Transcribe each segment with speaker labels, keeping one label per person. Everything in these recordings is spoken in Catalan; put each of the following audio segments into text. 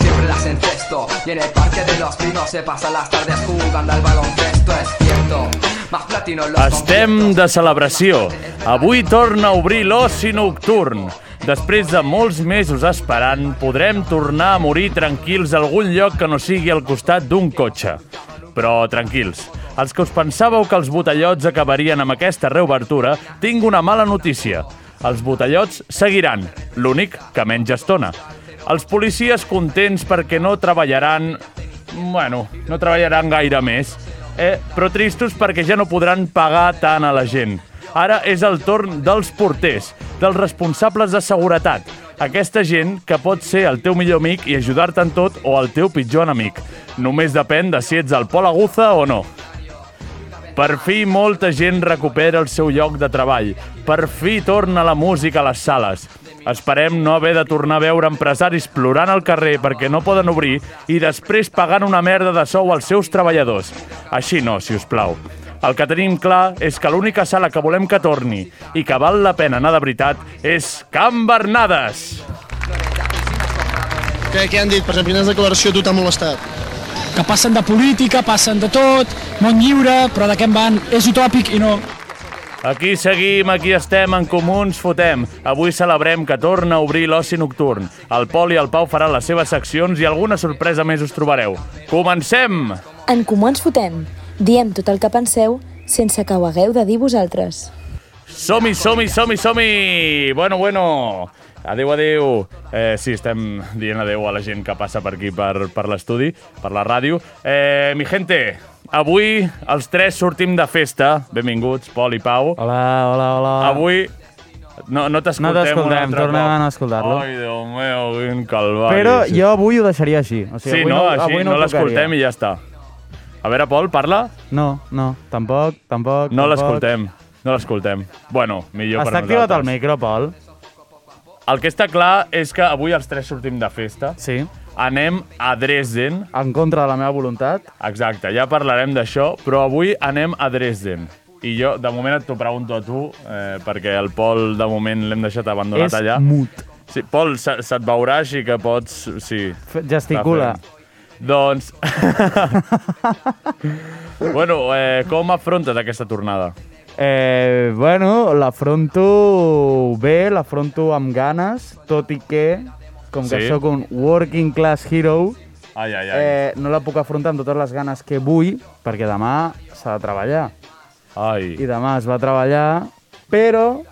Speaker 1: Siempre las encesto Y en el parque de los pinos se pasan las tardes jugando al baloncesto Es cierto, más platino los
Speaker 2: Estem de
Speaker 1: conciertos.
Speaker 2: celebració. Avui torna a obrir l'oci nocturn. Després de molts mesos esperant, podrem tornar a morir tranquils a algun lloc que no sigui al costat d'un cotxe. Però tranquils, els que us pensàveu que els botellots acabarien amb aquesta reobertura, tinc una mala notícia. Els botellots seguiran, l'únic que menys estona. Els policies contents perquè no treballaran bueno, no treballaran gaire més, eh? però tristos perquè ja no podran pagar tant a la gent. Ara és el torn dels porters, dels responsables de seguretat, aquesta gent que pot ser el teu millor amic i ajudar-te en tot o el teu pitjor enemic. Només depèn de si ets el Pol Aguza o no. Per fi molta gent recupera el seu lloc de treball. Per fi torna la música a les sales. Esperem no haver de tornar a veure empresaris plorant al carrer perquè no poden obrir i després pagant una merda de sou als seus treballadors. Així no, si us plau. El que tenim clar és que l'única sala que volem que torni i que val la pena anar de veritat és Can Bernades.
Speaker 3: Què, què han dit? Per exemple, quines declaracions tu t'ha molestat?
Speaker 4: que passen de política, passen de tot, món lliure, però de què en van? És utòpic i no.
Speaker 2: Aquí seguim, aquí estem, en comú ens fotem. Avui celebrem que torna a obrir l'oci nocturn. El Pol i el Pau faran les seves seccions i alguna sorpresa més us trobareu. Comencem!
Speaker 5: En Comú Ens Fotem. Diem tot el que penseu sense que ho hagueu de dir vosaltres.
Speaker 2: Som-hi, som-hi, som-hi, som-hi! Bueno, bueno! Adéu, adéu. Eh, sí, estem dient adéu a la gent que passa per aquí, per, per l'estudi, per la ràdio. Eh, mi gente, avui els tres sortim de festa. Benvinguts, Pol i Pau.
Speaker 6: Hola, hola, hola.
Speaker 2: Avui no, no t'escoltem
Speaker 6: Ah. No t'escoltem,
Speaker 2: un altre
Speaker 6: tornem
Speaker 2: cop.
Speaker 6: a no escoltar-lo.
Speaker 2: Ai, Déu meu, quin calvari.
Speaker 6: Però jo avui ho deixaria així. O
Speaker 2: Sí,
Speaker 6: sigui, avui
Speaker 2: no, així
Speaker 6: avui
Speaker 2: no,
Speaker 6: el tocaria.
Speaker 2: l'escoltem i ja està. A veure, Pol, parla.
Speaker 6: No, no, tampoc, tampoc,
Speaker 2: No
Speaker 6: tampoc.
Speaker 2: l'escoltem. No l'escoltem. Bueno, millor
Speaker 6: Està
Speaker 2: per
Speaker 6: activat el
Speaker 2: nosaltres.
Speaker 6: micro, Pol.
Speaker 2: El que està clar és que avui els tres sortim de festa.
Speaker 6: Sí.
Speaker 2: Anem a Dresden.
Speaker 6: En contra de la meva voluntat.
Speaker 2: Exacte, ja parlarem d'això, però avui anem a Dresden. I jo, de moment, et t'ho pregunto a tu, eh, perquè el Pol, de moment, l'hem deixat abandonat
Speaker 6: és
Speaker 2: allà.
Speaker 6: mut.
Speaker 2: Sí, Pol, se, se't veurà, així que pots... Sí,
Speaker 6: F-
Speaker 2: Està
Speaker 6: Gesticula.
Speaker 2: fent. Doncs... bueno, eh, com afrontes aquesta tornada?
Speaker 6: Eh, bueno, l'afronto bé, l'afronto amb ganes, tot i que, com que
Speaker 2: Sí.
Speaker 6: sóc un working class hero,
Speaker 2: Ai, ai, ai. Eh...
Speaker 6: eh, no la puc afrontar amb totes les ganes que vull, perquè demà s'ha de treballar. i
Speaker 2: ai.
Speaker 6: demà es va a treballar, però,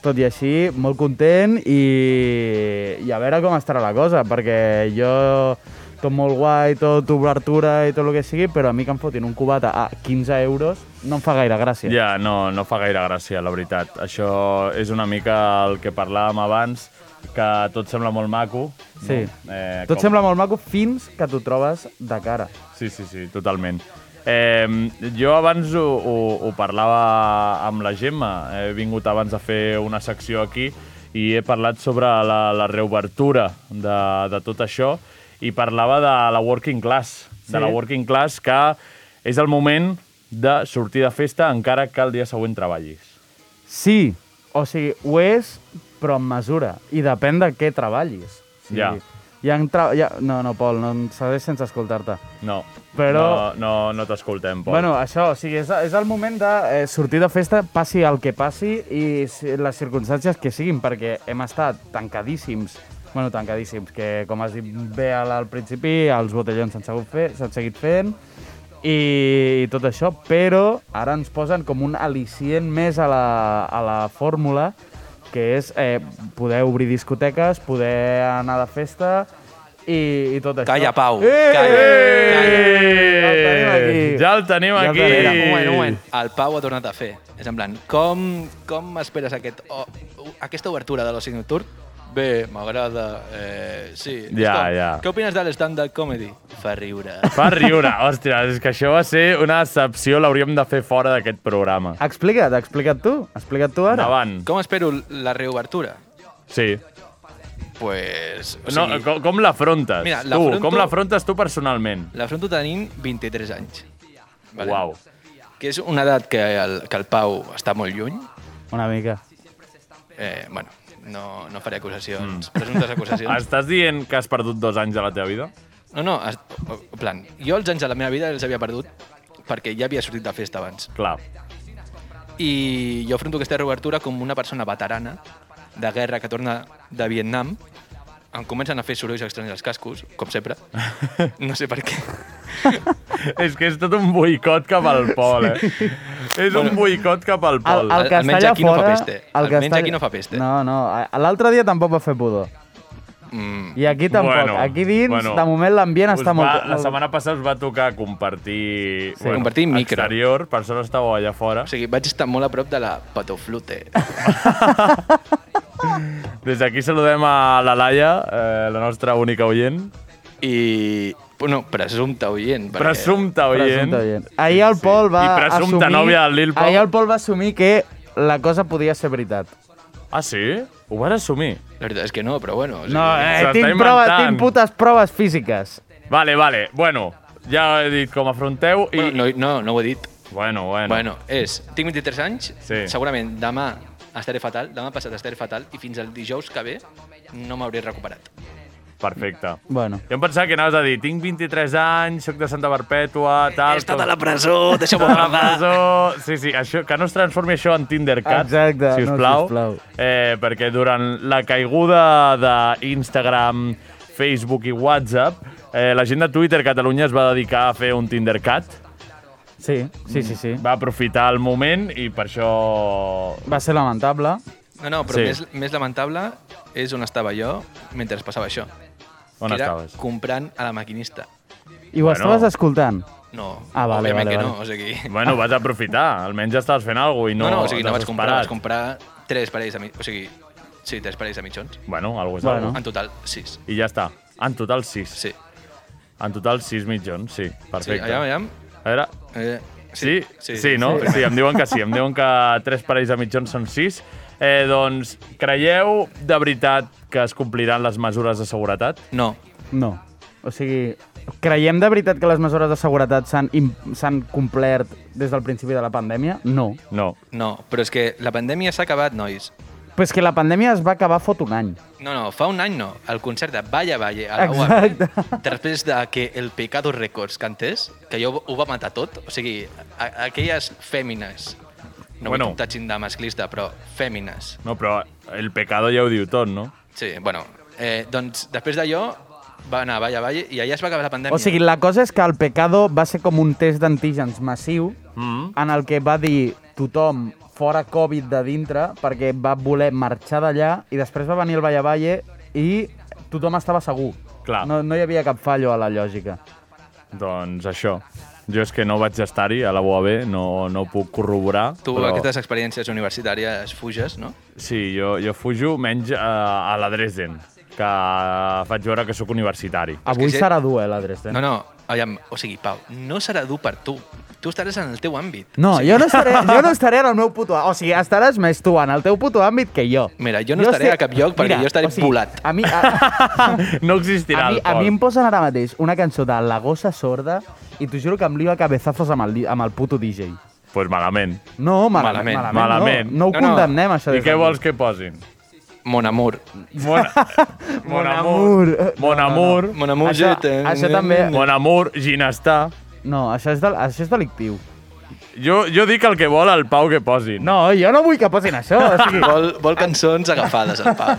Speaker 6: tot i així, molt content i, i a veure com estarà la cosa, perquè jo tot molt guai, tot obertura i tot el que sigui, però a mi que em fotin un cubata a 15 euros no em fa gaire gràcia.
Speaker 2: Ja, no, no fa gaire gràcia, la veritat. Això és una mica el que parlàvem abans, que tot sembla molt maco.
Speaker 6: Sí.
Speaker 2: No? Eh,
Speaker 6: Tot sembla molt maco fins que t'ho trobes de cara.
Speaker 2: Sí, sí, sí, totalment. Eh, jo abans ho, ho, ho parlava amb la Gemma, he vingut abans a fer una secció aquí i he parlat sobre la, la reobertura de, de tot això i parlava de la working class, sí. de la working class que és el moment de sortir de festa encara que el dia següent treballis.
Speaker 6: Sí, o sigui, ho és, però en mesura. I depèn de què treballis. O sigui,
Speaker 2: Ja.
Speaker 6: Ja, entra... ja... No, no, Pol, no em segueix sense escoltar-te.
Speaker 2: No,
Speaker 6: Però-
Speaker 2: no, no, no t'escoltem, Pol.
Speaker 6: Bueno, això, o sigui, és, és el moment de eh, sortir de festa, passi el que passi i si- les circumstàncies que siguin, perquè hem estat tancadíssims, bueno, tancadíssims, que com has dit bé al, al principi, els botellons s'han segut fer- s'han seguit fent i, i tot això, però ara ens posen com un al·licient més a la, a la fórmula, que és eh, poder obrir discoteques, poder anar de festa i, i tot això.
Speaker 7: Calla, Pau,
Speaker 6: Eh!
Speaker 7: calla,
Speaker 2: eh.
Speaker 6: Ja el tenim aquí.
Speaker 2: Ja el tenim
Speaker 6: Ja el
Speaker 2: aquí.
Speaker 6: tenim.
Speaker 7: Un moment, un moment. El Pau ha tornat a fer. És en plan, com, com esperes aquest, o, aquesta obertura de l'oci nocturn bé, m'agrada, eh, sí.
Speaker 2: Ja,
Speaker 7: Stop.
Speaker 2: ja.
Speaker 7: Què opines de l'stand-up comedy? Fa riure.
Speaker 2: Fa riure, hòsties, és que això va ser una decepció, l'hauríem de fer fora d'aquest programa.
Speaker 6: Explica't, explica't tu. Explica't tu ara.
Speaker 2: Endavant.
Speaker 7: Com espero la reobertura?
Speaker 2: Sí.
Speaker 7: Pues... O
Speaker 2: No,
Speaker 7: sigui,
Speaker 2: com, com l'afrontes?
Speaker 7: Mira,
Speaker 2: Tu,
Speaker 7: l'afronto-
Speaker 2: com l'afrontes tu personalment?
Speaker 7: L'afronto tenint 23 anys.
Speaker 2: Vale. Uau.
Speaker 7: Que és una edat que el, que el Pau està molt lluny.
Speaker 6: Una mica.
Speaker 7: Eh, bueno, no, no faré acusacions, mm. presumptes acusacions.
Speaker 2: Estàs dient que has perdut dos anys de la teva vida?
Speaker 7: No, no, es, o- o- plan, jo els anys de la meva vida els havia perdut perquè ja havia sortit de festa abans.
Speaker 2: Clar.
Speaker 7: I jo afronto aquesta reobertura com una persona veterana de guerra que torna de Vietnam. Em comencen a fer sorolls estranys als cascos, com sempre. No sé per què.
Speaker 2: és que és tot un boicot cap al Pol, eh? és bueno, un boicot cap al Pol.
Speaker 6: El, el que
Speaker 7: Almenys
Speaker 6: està allà
Speaker 7: aquí no fa
Speaker 6: fora-
Speaker 7: peste.
Speaker 6: el que
Speaker 7: Almenys
Speaker 6: està-
Speaker 7: aquí no fa peste.
Speaker 6: No, no. a- L'altre dia tampoc va fer pudor.
Speaker 7: Mm,
Speaker 6: I aquí tampoc.
Speaker 2: Bueno,
Speaker 6: aquí dins,
Speaker 2: bueno.
Speaker 6: de moment, l'ambient
Speaker 2: Us
Speaker 6: està
Speaker 2: va,
Speaker 6: molt...
Speaker 2: La
Speaker 6: molt-
Speaker 2: setmana passada us va tocar compartir...
Speaker 6: Sí.
Speaker 7: Compartir micro.
Speaker 2: Exterior, per sort estàveu allà fora.
Speaker 7: o sigui, vaig estar molt a prop de la patoflute.
Speaker 2: Des d'aquí saludem a la Laia, eh, la nostra única oient.
Speaker 7: I... No, presumpte oient. Perquè...
Speaker 2: Presumpta oient.
Speaker 6: Presumpte oient. Ahir el Pol va
Speaker 2: I presumpta
Speaker 6: assumir...
Speaker 2: nòvia del Lil Pau.
Speaker 6: Ahir el Pol va assumir que la cosa podia ser veritat.
Speaker 2: Ah, sí? Ho vas assumir?
Speaker 7: La veritat és que no, però bueno. O sigui,
Speaker 6: No, eh,
Speaker 2: s'està
Speaker 6: tinc, proves,
Speaker 2: inventant.
Speaker 6: tinc putes proves físiques.
Speaker 2: Vale, vale. Bueno, ja he dit com afronteu i...
Speaker 7: Bueno, no, no, no ho he dit.
Speaker 2: Bueno, bueno.
Speaker 7: Bueno, és... Tinc 23 anys,
Speaker 2: Sí.
Speaker 7: segurament demà estaré fatal, demà passat estaré fatal i fins al dijous que ve no m'hauré recuperat.
Speaker 2: Perfecte.
Speaker 6: Bueno.
Speaker 2: Jo em pensava que anaves a dir, tinc 23 anys, sóc de Santa Perpètua, tal...
Speaker 7: He estat a la presó, deixeu-me
Speaker 2: a la
Speaker 7: parlar.
Speaker 2: presó... Sí, sí, això, que no es transformi això en Tindercat,
Speaker 6: Exacte,
Speaker 2: si us
Speaker 6: no,
Speaker 2: plau.
Speaker 6: sisplau.
Speaker 2: Eh, perquè durant la caiguda d'Instagram, Facebook i WhatsApp, eh, la gent de Twitter Catalunya es va dedicar a fer un Tindercat.
Speaker 6: Sí, sí, sí, sí.
Speaker 2: Mm. Va aprofitar el moment i per això...
Speaker 6: Va ser lamentable.
Speaker 7: No, no, però
Speaker 2: Sí.
Speaker 7: sí. més, més lamentable és on estava jo mentre passava això.
Speaker 2: On
Speaker 7: que era
Speaker 2: estaves?
Speaker 7: comprant a la maquinista.
Speaker 6: I ho
Speaker 2: Bueno.
Speaker 6: estaves escoltant.
Speaker 7: No,
Speaker 6: Ah, vale,
Speaker 7: òbviament
Speaker 6: vale,
Speaker 7: que
Speaker 6: vale.
Speaker 7: no, o sigui...
Speaker 2: Bueno, vas aprofitar. Almenys estaves fent alguna cosa i
Speaker 7: No,
Speaker 2: no...
Speaker 7: no, o sigui, no vaig comprar,
Speaker 2: desesperat.
Speaker 7: vaig comprar tres parells de mitjons, o sigui, sí, tres parells de mitjons.
Speaker 2: Bueno, alguna cosa.
Speaker 6: Bueno.
Speaker 2: Bueno.
Speaker 7: En total, sis.
Speaker 2: I ja està. Ah, En total, 6.
Speaker 7: Sí.
Speaker 2: En total, 6 mitjons, sí. Perfecte.
Speaker 7: Sí, aviam, aviam.
Speaker 2: A veure...
Speaker 7: Eh,
Speaker 2: Sí? Sí, sí, no? Sí. em diuen que sí. Em diuen que tres parells de mitjons són 6. Eh, doncs, creieu de veritat que es compliran les mesures de seguretat?
Speaker 7: No,
Speaker 6: No. O sigui, creiem de veritat que les mesures de seguretat s'han im- s'han complert des del principi de la pandèmia? No.
Speaker 2: No.
Speaker 7: no, però és que la pandèmia s'ha acabat, nois.
Speaker 6: Però és que la pandèmia es va acabar fot un any.
Speaker 7: No, no, fa un any no. El concert de Valla Valle a la
Speaker 6: Exacte.
Speaker 7: UAB, després de que el Pecado Records cantés, que jo ho va matar tot, o sigui, a, aquelles fèmines, no
Speaker 2: Bueno.
Speaker 7: bueno. vull tachin de masclista, però fèmines,
Speaker 2: No, però el pecado ja ho diu tot, no?
Speaker 7: sí, bueno, eh, doncs després d'allò va anar a Valla Valle i allà es va acabar la pandèmia.
Speaker 6: O sigui, la cosa és que el Pecado va ser com un test d'antígens massiu mm. en el que va dir tothom fora Covid de dintre perquè va voler marxar d'allà i després va venir el Valle Valle i tothom estava segur.
Speaker 2: Clar.
Speaker 6: No, no hi havia cap fallo a la lògica.
Speaker 2: Doncs això. Jo és que no vaig estar-hi a la UAB, no, no ho puc corroborar.
Speaker 7: Tu,
Speaker 2: però...
Speaker 7: aquestes experiències universitàries fuges, no?
Speaker 2: Sí, jo, jo fujo menys eh, a la Dresden, que faig veure que sóc universitari.
Speaker 6: Avui
Speaker 7: si-
Speaker 6: serà dur, eh, la Dresden.
Speaker 7: No, no, aviam, o sigui, Pau, no serà dur per tu. Tu estaràs en el teu àmbit.
Speaker 6: No, jo no, estaré, jo no estaré en el meu puto... àmbit. O sigui, estaràs més tu en el teu puto àmbit que jo.
Speaker 7: Mira, jo no estaré a cap lloc perquè jo estaré volat.
Speaker 6: A mi, a,
Speaker 2: No existirà
Speaker 6: a, mi,
Speaker 2: el
Speaker 6: a
Speaker 2: Pol.
Speaker 6: mi em posen ara mateix una cançó de La gossa sorda i t'ho juro que em lio a cabezazos amb el, di- amb el puto DJ.
Speaker 2: pues malament.
Speaker 6: No, malament.
Speaker 7: Malament.
Speaker 6: Malament.
Speaker 2: Malament.
Speaker 6: No, no ho no,
Speaker 7: No, no.
Speaker 6: condemnem, això.
Speaker 2: I
Speaker 6: des
Speaker 2: què
Speaker 6: d'aquí.
Speaker 2: vols que posin?
Speaker 7: Mon amor.
Speaker 2: Mon,
Speaker 6: Mon amour.
Speaker 2: Mon amor.
Speaker 7: Mon amor,
Speaker 6: Això-
Speaker 7: je t'aime.
Speaker 6: això també.
Speaker 2: Mon amor, Ginestà.
Speaker 6: No, això és, del, això és delictiu.
Speaker 2: Jo, jo dic el que vol el Pau que posin.
Speaker 6: No, jo no vull que posin això. O sigui,
Speaker 7: Vol, vol cançons agafades al Pau.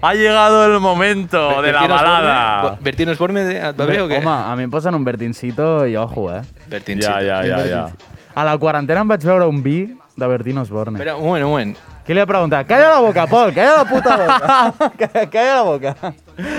Speaker 2: Ha llegado el momento de la
Speaker 7: Bertín Osborne-
Speaker 2: balada.
Speaker 7: Bo- Bertín Osborne eh, et va bé o què?
Speaker 6: Home, a mi em posen un vertincito i ojo, eh?
Speaker 7: Bertín,
Speaker 2: Ja,
Speaker 7: sí.
Speaker 2: ja, ja, ja.
Speaker 6: A la quarantena em vaig veure un vi de Bertín Osborne.
Speaker 7: Espera, un moment, un moment.
Speaker 6: Què li ha preguntat? Calla la boca, Pol, calla la puta boca. Ca- calla la boca.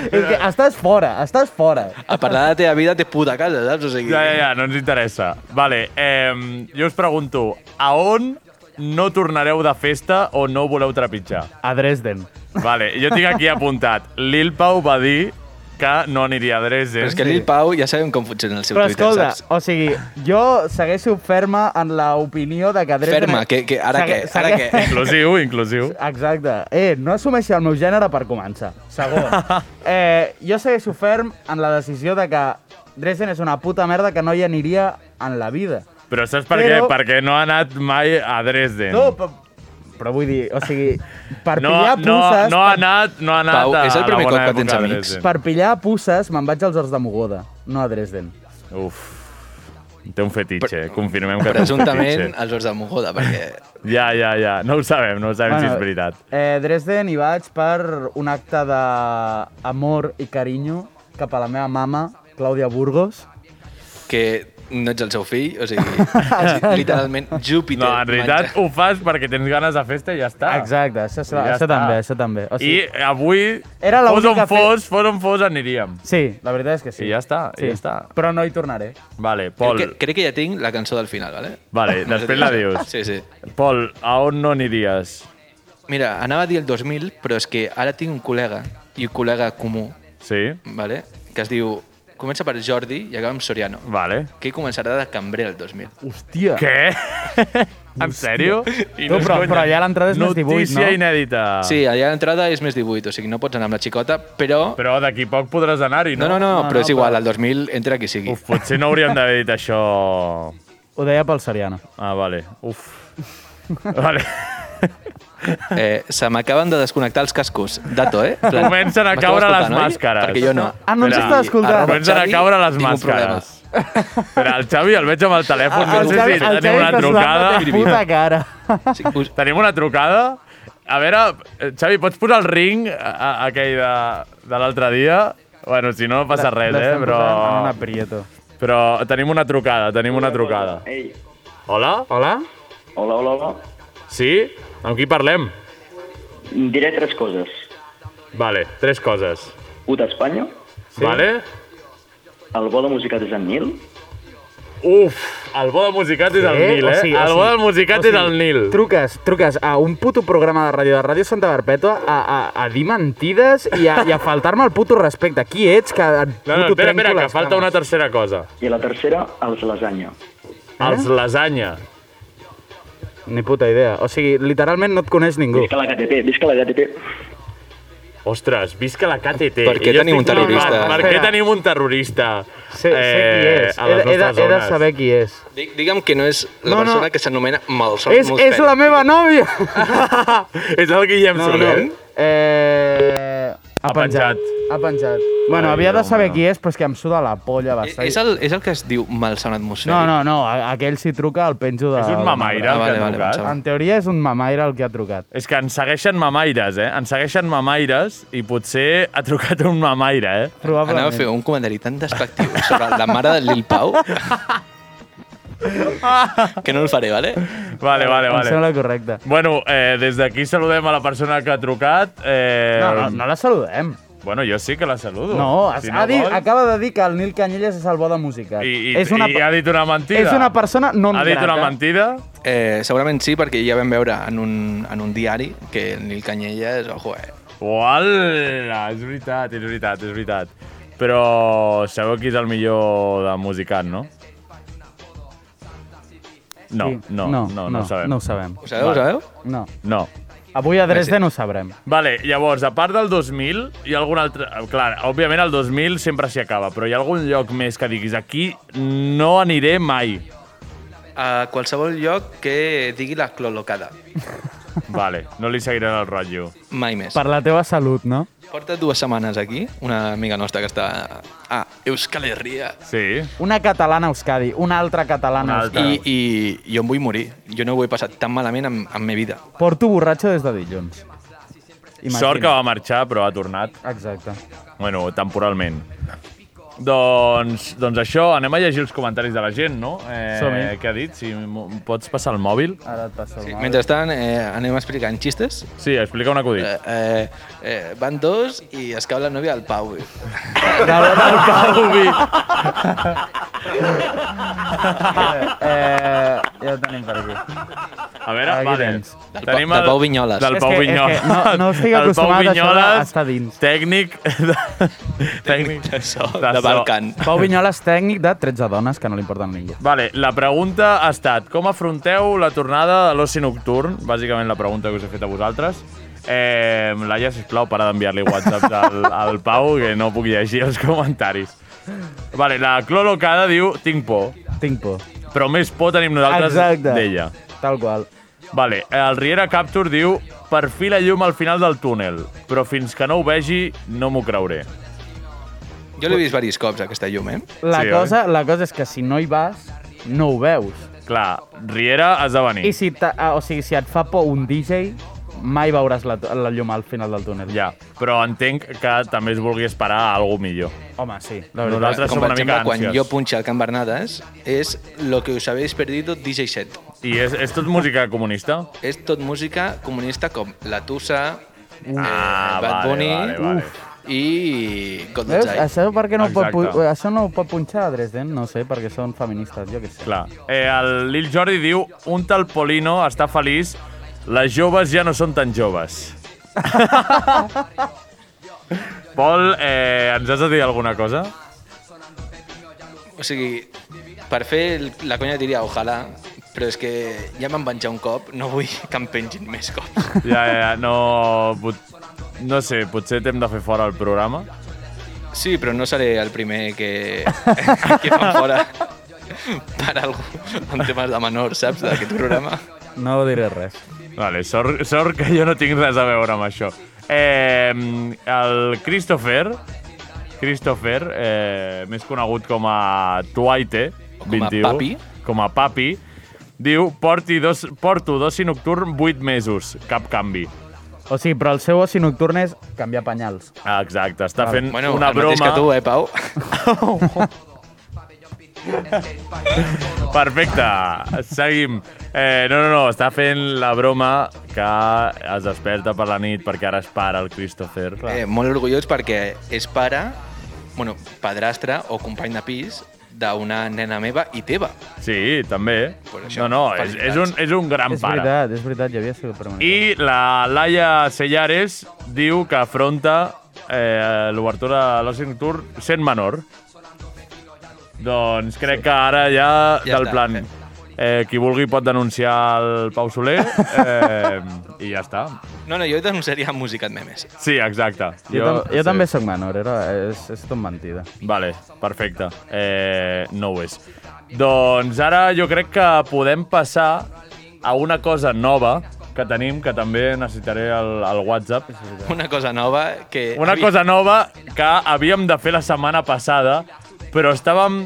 Speaker 6: És que estàs fora, estàs fora.
Speaker 7: A parlar de la teva vida té puta casa, saps? O sigui,
Speaker 2: Ja, ja, ja, no ens interessa. Vale, eh, jo us pregunto, a on no tornareu de festa o no voleu trepitjar?
Speaker 6: A Dresden.
Speaker 2: Vale, jo tinc aquí apuntat. Lil Pau va dir que no aniria a Dresden.
Speaker 7: Però és que Lil Pau ja sabem com funciona el seu
Speaker 6: Però
Speaker 7: Twitter,
Speaker 6: escolta,
Speaker 7: saps?
Speaker 6: o sigui, jo segueixo ferma en l'opinió de que... Dresden-
Speaker 7: Ferma, que, que ara
Speaker 6: Segue-
Speaker 7: què? Ara
Speaker 6: segue-
Speaker 7: què?
Speaker 2: Inclusiu, inclusiu.
Speaker 6: Exacte. Eh, no assumeixi el meu gènere per començar. Segon. Eh, jo segueixo ferm en la decisió de que Dresden és una puta merda que no hi aniria en la vida.
Speaker 2: Però saps per
Speaker 6: Però-
Speaker 2: què? Perquè no ha anat mai a Dresden.
Speaker 6: No, però, però vull dir, o sigui, per
Speaker 2: no,
Speaker 6: pillar
Speaker 2: no,
Speaker 6: puces...
Speaker 2: no ha anat, no ha anat
Speaker 7: Pau,
Speaker 2: a
Speaker 7: és el
Speaker 2: la
Speaker 7: primer
Speaker 2: bona
Speaker 7: cop que tens
Speaker 2: època de
Speaker 7: amics?
Speaker 2: Dresden.
Speaker 6: Per pillar puces me'n vaig als Horts de Mogoda, no a Dresden.
Speaker 2: Uf. Té un fetitxe, confirmem que té un
Speaker 7: Presumptament
Speaker 2: fetitxe.
Speaker 7: els horts de Mogoda, perquè
Speaker 2: Ja, ja, ja. No ho sabem, no ho sabem bueno, si és veritat.
Speaker 6: Eh, Dresden hi vaig per un acte d'amor i carinyo cap a la meva mama, Clàudia Burgos.
Speaker 7: que no ets el seu fill, o sigui, literalment Júpiter.
Speaker 2: No, en realitat
Speaker 7: menja-
Speaker 2: ho fas perquè tens ganes de festa i ja està.
Speaker 6: Exacte, això, això,
Speaker 2: Ah. Ja
Speaker 6: això
Speaker 2: està.
Speaker 6: també, això també. O
Speaker 2: I avui,
Speaker 6: Era la
Speaker 2: fos on
Speaker 6: única fe-
Speaker 2: fos, fos on fos, aniríem.
Speaker 6: Sí, la veritat és que sí.
Speaker 2: I ja està, i ja està.
Speaker 6: Però no hi tornaré.
Speaker 2: Vale,
Speaker 7: Crec
Speaker 2: Pol,
Speaker 7: que, crec que ja tinc la cançó del final, vale?
Speaker 2: Vale,
Speaker 7: No sé
Speaker 2: després
Speaker 7: si-
Speaker 2: la dius.
Speaker 7: Sí, sí.
Speaker 2: Pol, a on no aniries?
Speaker 7: Mira, anava a dir el 2000, però és que ara tinc un col·lega, i un col·lega comú,
Speaker 2: Sí?
Speaker 7: vale? que es diu... Comença per Jordi i acaba amb Soriano,
Speaker 2: Vale.
Speaker 7: que començarà de cambrer el 2000.
Speaker 6: Hòstia.
Speaker 2: Què? en sèrio? I
Speaker 6: No,
Speaker 2: és
Speaker 6: però-
Speaker 2: conya.
Speaker 6: però allà l'entrada és més 18,
Speaker 2: Notícia
Speaker 6: no?
Speaker 2: inèdita.
Speaker 7: Sí, allà l'entrada és més 18, o sigui, no pots anar amb la xicota, però...
Speaker 2: Però d'aquí poc podràs anar-hi,
Speaker 7: No,
Speaker 2: no?
Speaker 7: no, no,
Speaker 6: No,
Speaker 7: però
Speaker 6: no,
Speaker 7: és igual, al 2000 entra qui sigui.
Speaker 2: Uf, potser no hauríem d'haver dit això...
Speaker 6: Ho deia pel Seriano.
Speaker 2: Ah, vale. Uf. Vale.
Speaker 7: Eh, se m'acaben de desconnectar els cascos. Dato, eh? En plan,
Speaker 2: Comencen a
Speaker 7: m'esteu
Speaker 2: caure les
Speaker 7: escoltant, oi?
Speaker 2: màscares.
Speaker 7: Perquè jo no.
Speaker 6: Ah, no ens
Speaker 7: Espera,
Speaker 6: estàs escoltant.
Speaker 7: arroba
Speaker 2: Comencen a
Speaker 7: Xavi,
Speaker 2: caure les
Speaker 7: tinc un problema.
Speaker 2: màscares. Però el Xavi el veig amb el telèfon.
Speaker 6: Ah,
Speaker 2: No sé si
Speaker 6: el Xavi
Speaker 2: tenim una
Speaker 6: està sudant
Speaker 2: trucada.
Speaker 6: la teva Puta cara.
Speaker 7: Sí, us,
Speaker 2: Tenim una trucada. A veure, eh, Xavi, pots posar el ring a, a, aquell de, de l'altre dia? Bueno, si no, no passa res, eh?
Speaker 6: L'estem
Speaker 2: Però,
Speaker 6: posant En un aprieto.
Speaker 2: però tenim una trucada, tenim una trucada. Hola?
Speaker 8: Hola? Hola, hola, hola.
Speaker 2: Sí? Amb qui parlem?
Speaker 8: Diré tres coses.
Speaker 2: Vale, tres coses.
Speaker 8: U d'Espanya,
Speaker 2: Sí. Vale?
Speaker 8: el bo de música de Sant Nil,
Speaker 2: Uf, el bo del musicat és el Nil, eh? el bo del musicat és el Nil.
Speaker 9: Truques, truques a un puto programa de ràdio de Ràdio Santa Barpètua a, a, a dir mentides i a, i a faltar-me el puto respecte. Qui ets? Que et
Speaker 2: No, no, espera, espera, que falta una tercera cosa.
Speaker 8: i la tercera, els lasanya.
Speaker 2: Els lasanya.
Speaker 9: Ni puta idea. O sigui, literalment no et coneix ningú.
Speaker 8: Visca la KTP, visca la KTP.
Speaker 2: Ostres, visca la KTT.
Speaker 7: Per què
Speaker 2: Jo
Speaker 7: tenim
Speaker 2: estic
Speaker 7: un terrorista?
Speaker 2: preocupat. Per què
Speaker 9: Espera.
Speaker 2: tenim un terrorista Eh,
Speaker 9: Sé, sé qui és.
Speaker 2: a les
Speaker 9: He, he, de,
Speaker 2: nostres
Speaker 9: he de
Speaker 2: zones?
Speaker 9: saber qui és.
Speaker 7: dic- digue'm que no és la
Speaker 9: No, no.
Speaker 7: persona que s'anomena Malson
Speaker 9: és, és la meva nòvia!
Speaker 2: és el Guillem
Speaker 9: No, no.
Speaker 2: Soler.
Speaker 6: Eh... Ha
Speaker 2: penjat.
Speaker 6: Ha penjat. Bueno, havia de saber qui és, però és que em suda la polla bastant.
Speaker 7: Eh, És el, és el que es diu malson atmosfèric.
Speaker 6: No, no, no, a- aquell si truca el penjo de...
Speaker 2: És un mamaire
Speaker 7: Ah,
Speaker 2: el que
Speaker 7: vale,
Speaker 2: ha
Speaker 7: vale,
Speaker 2: trucat.
Speaker 7: pensava.
Speaker 6: En teoria és un mamaire el que ha trucat.
Speaker 2: És que ens segueixen mamaires, eh? Ens segueixen mamaires i potser ha trucat un mamaire, eh?
Speaker 6: Probablement.
Speaker 7: Anava a fer un comentari tan despectiu sobre la mare de Lil Pau que no el faré, vale?
Speaker 2: Vale, vale,
Speaker 6: Em
Speaker 2: vale.
Speaker 6: sembla correcte.
Speaker 2: Bueno, eh, des d'aquí saludem a la persona que ha trucat. Eh,
Speaker 6: No, no, no la saludem.
Speaker 2: Bueno, jo sí que la saludo.
Speaker 6: No,
Speaker 2: Si
Speaker 6: ha dit,
Speaker 2: vol.
Speaker 6: acaba de dir que el Nil Canyelles és el bo de música.
Speaker 2: I, i,
Speaker 6: és una,
Speaker 2: I ha dit una mentida.
Speaker 6: és una persona non
Speaker 2: Ha dit una
Speaker 6: grata.
Speaker 2: mentida?
Speaker 7: Eh, segurament sí, perquè ja vam veure en un, en un diari que el Nil Canyelles, ojo, eh?
Speaker 2: Uala, és veritat, és veritat, és veritat. Però sabeu qui és el millor de musicant, no? No,
Speaker 6: Sí.
Speaker 2: no, no, no, no, ho sabem.
Speaker 6: No ho sabem.
Speaker 7: Ho sabeu, ho
Speaker 2: Vale.
Speaker 7: sabeu?
Speaker 6: No.
Speaker 2: No.
Speaker 6: Avui a Dresden ho sabrem.
Speaker 2: Vale, llavors, a part del 2000, hi ha algun altre... eh, Clar, òbviament el 2000 sempre s'hi acaba, però hi ha algun lloc més que diguis aquí no aniré mai.
Speaker 7: a qualsevol lloc que digui la clolocada.
Speaker 2: Vale, no li seguiré el rotllo.
Speaker 7: Mai més.
Speaker 6: Per la teva salut, no?
Speaker 7: Porta dues setmanes aquí, una amiga nostra que està a Euskal Herria,
Speaker 2: Sí?
Speaker 6: Una catalana a Euskadi, una altra catalana.
Speaker 2: Una
Speaker 6: a
Speaker 2: altra.
Speaker 7: i, i jo em vull morir. Jo no ho he passat tan malament en, en ma vida.
Speaker 6: Euskadi. Porto borratxo des de dilluns. Imagina't.
Speaker 2: Sort que va marxar, però ha tornat.
Speaker 6: Exacte.
Speaker 2: Bueno, temporalment. Doncs, doncs això, anem a llegir els comentaris de la gent, no? Eh,
Speaker 6: Som-hi.
Speaker 2: què ha dit? Si m'ho- em pots passar el mòbil?
Speaker 6: Ara et passo el
Speaker 7: Sí.
Speaker 6: sí,
Speaker 7: Mentrestant, eh, anem explicant xistes.
Speaker 2: Sí, explica un acudit.
Speaker 7: Eh, eh, eh, van dos i es cau la nòvia del Pau.
Speaker 2: El Pau Vi.
Speaker 6: eh, ja ho tenim per aquí.
Speaker 2: A veure,
Speaker 6: Aquí
Speaker 2: vale.
Speaker 6: tens.
Speaker 7: Del Pau- del Pau Vinyoles.
Speaker 2: Del
Speaker 7: És
Speaker 2: Pau
Speaker 7: que- és que
Speaker 2: Vinyoles.
Speaker 6: no- no estic
Speaker 2: Del Pau
Speaker 6: acostumat a això de-
Speaker 2: Vinyoles,
Speaker 6: a estar dins.
Speaker 2: Tècnic de... tècnic de so,
Speaker 7: de Balkan.
Speaker 6: Pau Vinyoles, tècnic de 13 dones, que no li importen a ningú.
Speaker 2: Vale, la pregunta ha estat com afronteu la tornada de l'oci nocturn? Bàsicament la pregunta que us he fet a vosaltres. Eh, Laia, sisplau, para d'enviar-li whatsapps al, al Pau, que no puc llegir els comentaris. Vale, la Clolocada diu tinc por,
Speaker 6: Tinc por.
Speaker 2: però més por tenim nosaltres
Speaker 6: Exacte.
Speaker 2: d'ella.
Speaker 6: Tal qual.
Speaker 2: Vale, el Riera Capture diu per fi la llum al final del túnel, però fins que no ho vegi no m'ho creuré.
Speaker 7: Jo l'he vist diversos cops, aquesta llum, eh?
Speaker 6: La,
Speaker 2: Sí,
Speaker 6: sí,
Speaker 2: oi?
Speaker 6: cosa, la cosa és que si no hi vas, no ho veus.
Speaker 2: Clar, Riera has de venir.
Speaker 6: I si, te- ah, o sigui, si et fa por un DJ, mai veuràs la, la llum al final del túnel.
Speaker 2: Ja, però entenc que també es vulgui esperar a algú millor.
Speaker 6: Home, sí. La veritat.
Speaker 2: Nosaltres
Speaker 7: Com,
Speaker 2: som
Speaker 7: per
Speaker 2: una mica
Speaker 7: exemple, quan
Speaker 2: ànsies.
Speaker 7: jo punxa al Can Bernades, és lo que us habéis perdido DJ set.
Speaker 2: I és, és tot música comunista?
Speaker 7: És tot música comunista com La Tusa,
Speaker 2: Ah,
Speaker 7: eh, Bad
Speaker 2: vale,
Speaker 7: Bunny
Speaker 2: vale, vale.
Speaker 7: i God
Speaker 6: Veus?
Speaker 7: Knows I.
Speaker 6: Això, per què no ho pot,
Speaker 2: Exacte.
Speaker 6: pu- això no ho pot punxar a Dresden? No sé, perquè són feministes, jo què sé.
Speaker 2: Clar. Eh, el Lil Jordi diu un tal Polino està feliç, les joves ja no són tan joves. Pol, eh, ens has de dir alguna cosa?
Speaker 7: O sigui, per fer el- la conya diria ojalà, però és que ja me'n penjar un cop, no vull que em pengin més cops.
Speaker 2: Ja, ja, ja, no... Pot, no sé, potser t'hem de fer fora el programa.
Speaker 7: Sí, però no seré el primer que, que fan fora per algú en temes de menor, saps, d'aquest programa.
Speaker 6: No diré res.
Speaker 2: Vale, sort, sort que jo no tinc res a veure amb això. Eh, el Christopher, Christopher, eh, més conegut com a Tuaite,
Speaker 7: O com a
Speaker 2: 21,
Speaker 7: Papi.
Speaker 2: com a Papi, diu, Porti dos, porto d'oci nocturn 8 mesos, cap canvi.
Speaker 6: O sigui, però el seu oci nocturn és canviar penyals.
Speaker 2: Ah, Exacte, està fent
Speaker 7: Bueno,
Speaker 2: una
Speaker 7: el mateix
Speaker 2: broma.
Speaker 7: que tu, eh, Pau?
Speaker 2: Perfecte, seguim. Eh, no, no, no, està fent la broma que es desperta per la nit perquè ara es para el Christopher.
Speaker 7: Eh, molt orgullós perquè és pare, bueno, padrastre o company de pis d'una nena meva i teva.
Speaker 2: Sí, també.
Speaker 7: Pues
Speaker 2: no,
Speaker 7: això,
Speaker 2: no, és, és, un, és un gran
Speaker 6: és
Speaker 2: pare.
Speaker 6: veritat, és veritat, ja havia sigut per mi.
Speaker 2: I la Laia Sellares diu que afronta eh, l'obertura de l'Ocean Tour sent menor. Doncs crec que ara ja,
Speaker 7: Ja
Speaker 2: del
Speaker 7: està,
Speaker 2: plan...
Speaker 7: fem.
Speaker 2: Eh, qui vulgui pot denunciar el Pau Soler eh, i ja està.
Speaker 7: No, no, jo denunciaria música en memes.
Speaker 2: Sí, exacte.
Speaker 6: Jo, jo, tam jo
Speaker 2: sí.
Speaker 6: també sóc menor, era, és, és tot mentida.
Speaker 2: Vale, perfecte. Eh, no ho és. Doncs ara jo crec que podem passar a una cosa nova que tenim, que també necessitaré el, el WhatsApp.
Speaker 7: Una cosa nova que...
Speaker 2: Una
Speaker 7: havia-
Speaker 2: cosa nova que havíem de fer la setmana passada, però estàvem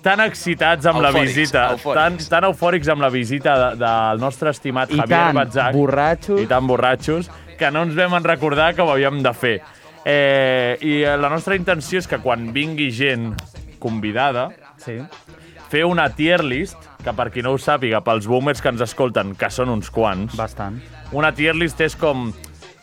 Speaker 2: tan excitats amb la
Speaker 7: Eufòrics,
Speaker 2: visita, tan,
Speaker 7: eufòrics.
Speaker 2: tan eufòrics amb la visita de, del nostre estimat
Speaker 6: I
Speaker 2: Javier
Speaker 6: tan
Speaker 2: Batzac.
Speaker 6: borratxos.
Speaker 2: I tan borratxos, que no ens vam en recordar que ho havíem de fer. Eh, I eh, la nostra intenció és que quan vingui gent convidada,
Speaker 6: Sí.
Speaker 2: fer una tier list, que per qui no ho sàpiga, pels boomers que ens escolten, que són uns quants,
Speaker 6: Bastant.
Speaker 2: una tier list és com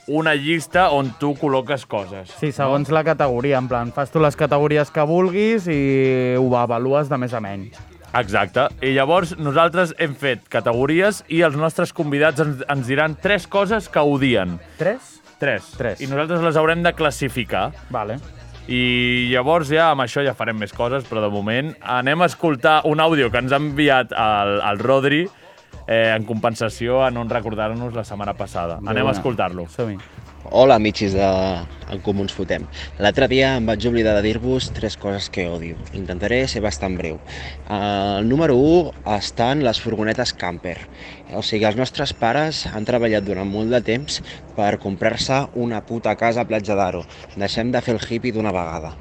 Speaker 2: una llista on tu col·loques coses.
Speaker 6: Sí, segons la categoria, en plan, fas tu les categories que vulguis i ho avalues de més a menys.
Speaker 2: Exacte. I llavors nosaltres hem fet categories i els nostres convidats ens, ens diran tres coses que odien.
Speaker 6: Tres?
Speaker 2: Tres.
Speaker 6: Tres.
Speaker 2: I nosaltres les haurem de classificar.
Speaker 6: Vale.
Speaker 2: I llavors ja amb això ja farem més coses, però de moment anem a escoltar un àudio que ens ha enviat el, el Rodri eh, en compensació a no recordar-nos la setmana passada. Anem a escoltar-lo.
Speaker 6: Som-hi.
Speaker 10: Hola, amicis de En Comú Ens Fotem. L'altre dia em vaig oblidar de dir-vos tres coses que odio. Intentaré ser bastant breu. Eh, El número 1 estan les furgonetes camper. O sigui, els nostres pares han treballat durant molt de temps per comprar-se una puta casa a Platja d'Aro. Deixem de fer el hippie d'una vegada.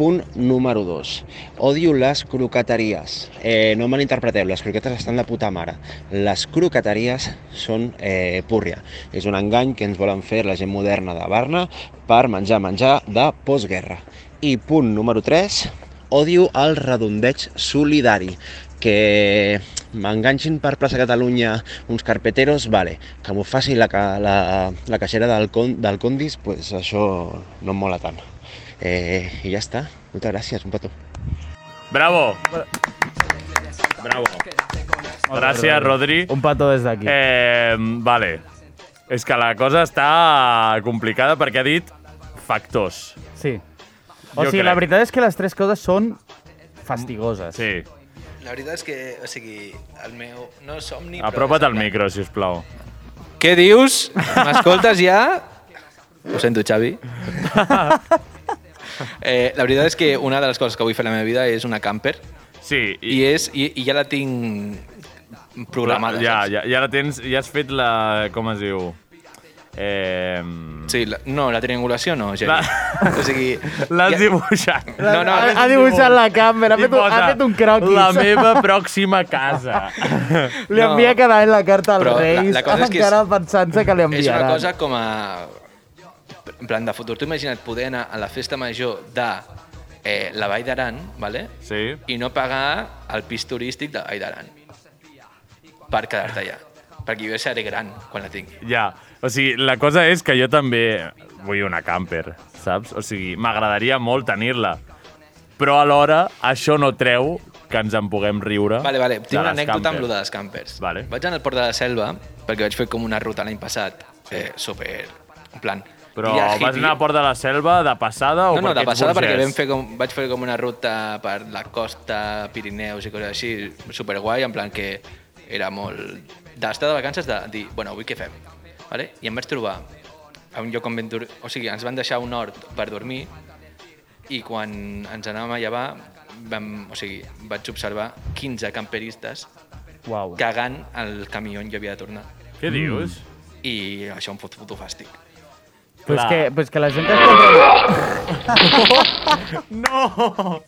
Speaker 10: Punt número 2. Odio les croqueteries. Eh, no malinterpreteu, les croquetes estan de puta mare. Les croqueteries són eh, púrria. És un engany que ens volen fer la gent moderna de Barna per menjar menjar de postguerra. I punt número 3. Odio el redondeig solidari que m'enganxin per plaça Catalunya uns carpeteros, vale, que m'ho faci la, ca- la, la caixera del, con, del Condis, pues això no em mola tant. Eh, I ja està. Moltes gràcies, un petó.
Speaker 2: Bravo! Bravo. Gràcies, Rodri.
Speaker 6: Un petó des d'aquí.
Speaker 2: Eh, vale. És que la cosa està complicada perquè ha dit factors.
Speaker 6: Sí. O sigui, la veritat és que les tres coses són fastigoses.
Speaker 2: Sí.
Speaker 7: La veritat és que, o sigui, el meu no és somni,
Speaker 2: Apropa't al micro, si us plau.
Speaker 7: Què dius? M'escoltes ja? Ho sento, Xavi. eh, la veritat és que una de les coses que vull fer a la meva vida és una camper.
Speaker 2: Sí.
Speaker 7: I, I, és, i, i ja la tinc programada.
Speaker 2: Ja,
Speaker 7: saps?
Speaker 2: ja, ja la tens, ja has fet la... com es diu? Eh...
Speaker 7: Sí, la, no, la triangulació no, Geri. La... O sigui...
Speaker 2: L'has dibuixat.
Speaker 7: No, no,
Speaker 2: Ha-
Speaker 7: no.
Speaker 2: ha dibuixat la càmera, ha
Speaker 6: fet un- ha fet un croquis.
Speaker 2: La meva pròxima casa.
Speaker 6: Li
Speaker 7: No.
Speaker 6: envia cada any la carta als
Speaker 7: Però la-
Speaker 6: Reis,
Speaker 7: la cosa és que és-
Speaker 6: encara pensant-se que li
Speaker 7: És una
Speaker 6: enviaran.
Speaker 7: cosa com a... En plan de futur. Tu imagina't poder anar a la festa major de eh, la Vall d'Aran, vale?
Speaker 2: sí.
Speaker 7: i no pagar el pis turístic de la Vall d'Aran per quedar-te allà. Perquè jo seré gran quan la tingui.
Speaker 2: Ja, o sigui, la cosa és que jo també vull una camper, saps? O sigui, m'agradaria molt tenir-la, però alhora això no treu que ens en puguem riure.
Speaker 7: Vale, vale.
Speaker 2: de
Speaker 7: Tinc una
Speaker 2: les
Speaker 7: anècdota amb
Speaker 2: camper.
Speaker 7: lo de les campers.
Speaker 2: Vale.
Speaker 7: Vaig anar al Port de la Selva perquè vaig fer com una ruta l'any passat. Eh, super... En plan...
Speaker 2: Però
Speaker 7: dia
Speaker 2: vas
Speaker 7: hippie.
Speaker 2: anar a Port de la Selva de passada o
Speaker 7: No, no,
Speaker 2: perquè
Speaker 7: de
Speaker 2: ets
Speaker 7: passada perquè
Speaker 2: burgès?
Speaker 7: vam fer com, vaig fer com una ruta per la costa, Pirineus i coses així, superguai, en plan que era molt d'estar de vacances de dir, bueno, avui què fem? Vale? I em vaig trobar a un lloc on vam dormir, o sigui, ens van deixar un hort per dormir i quan ens anàvem a llevar vam, o sigui, vaig observar 15 camperistes
Speaker 6: Uau.
Speaker 7: cagant al camió on jo havia de tornar.
Speaker 2: Què dius?
Speaker 7: I això em fot puto fàstic.
Speaker 6: Però és
Speaker 7: Clar.
Speaker 6: que, però és que la gent que es compra...
Speaker 2: No!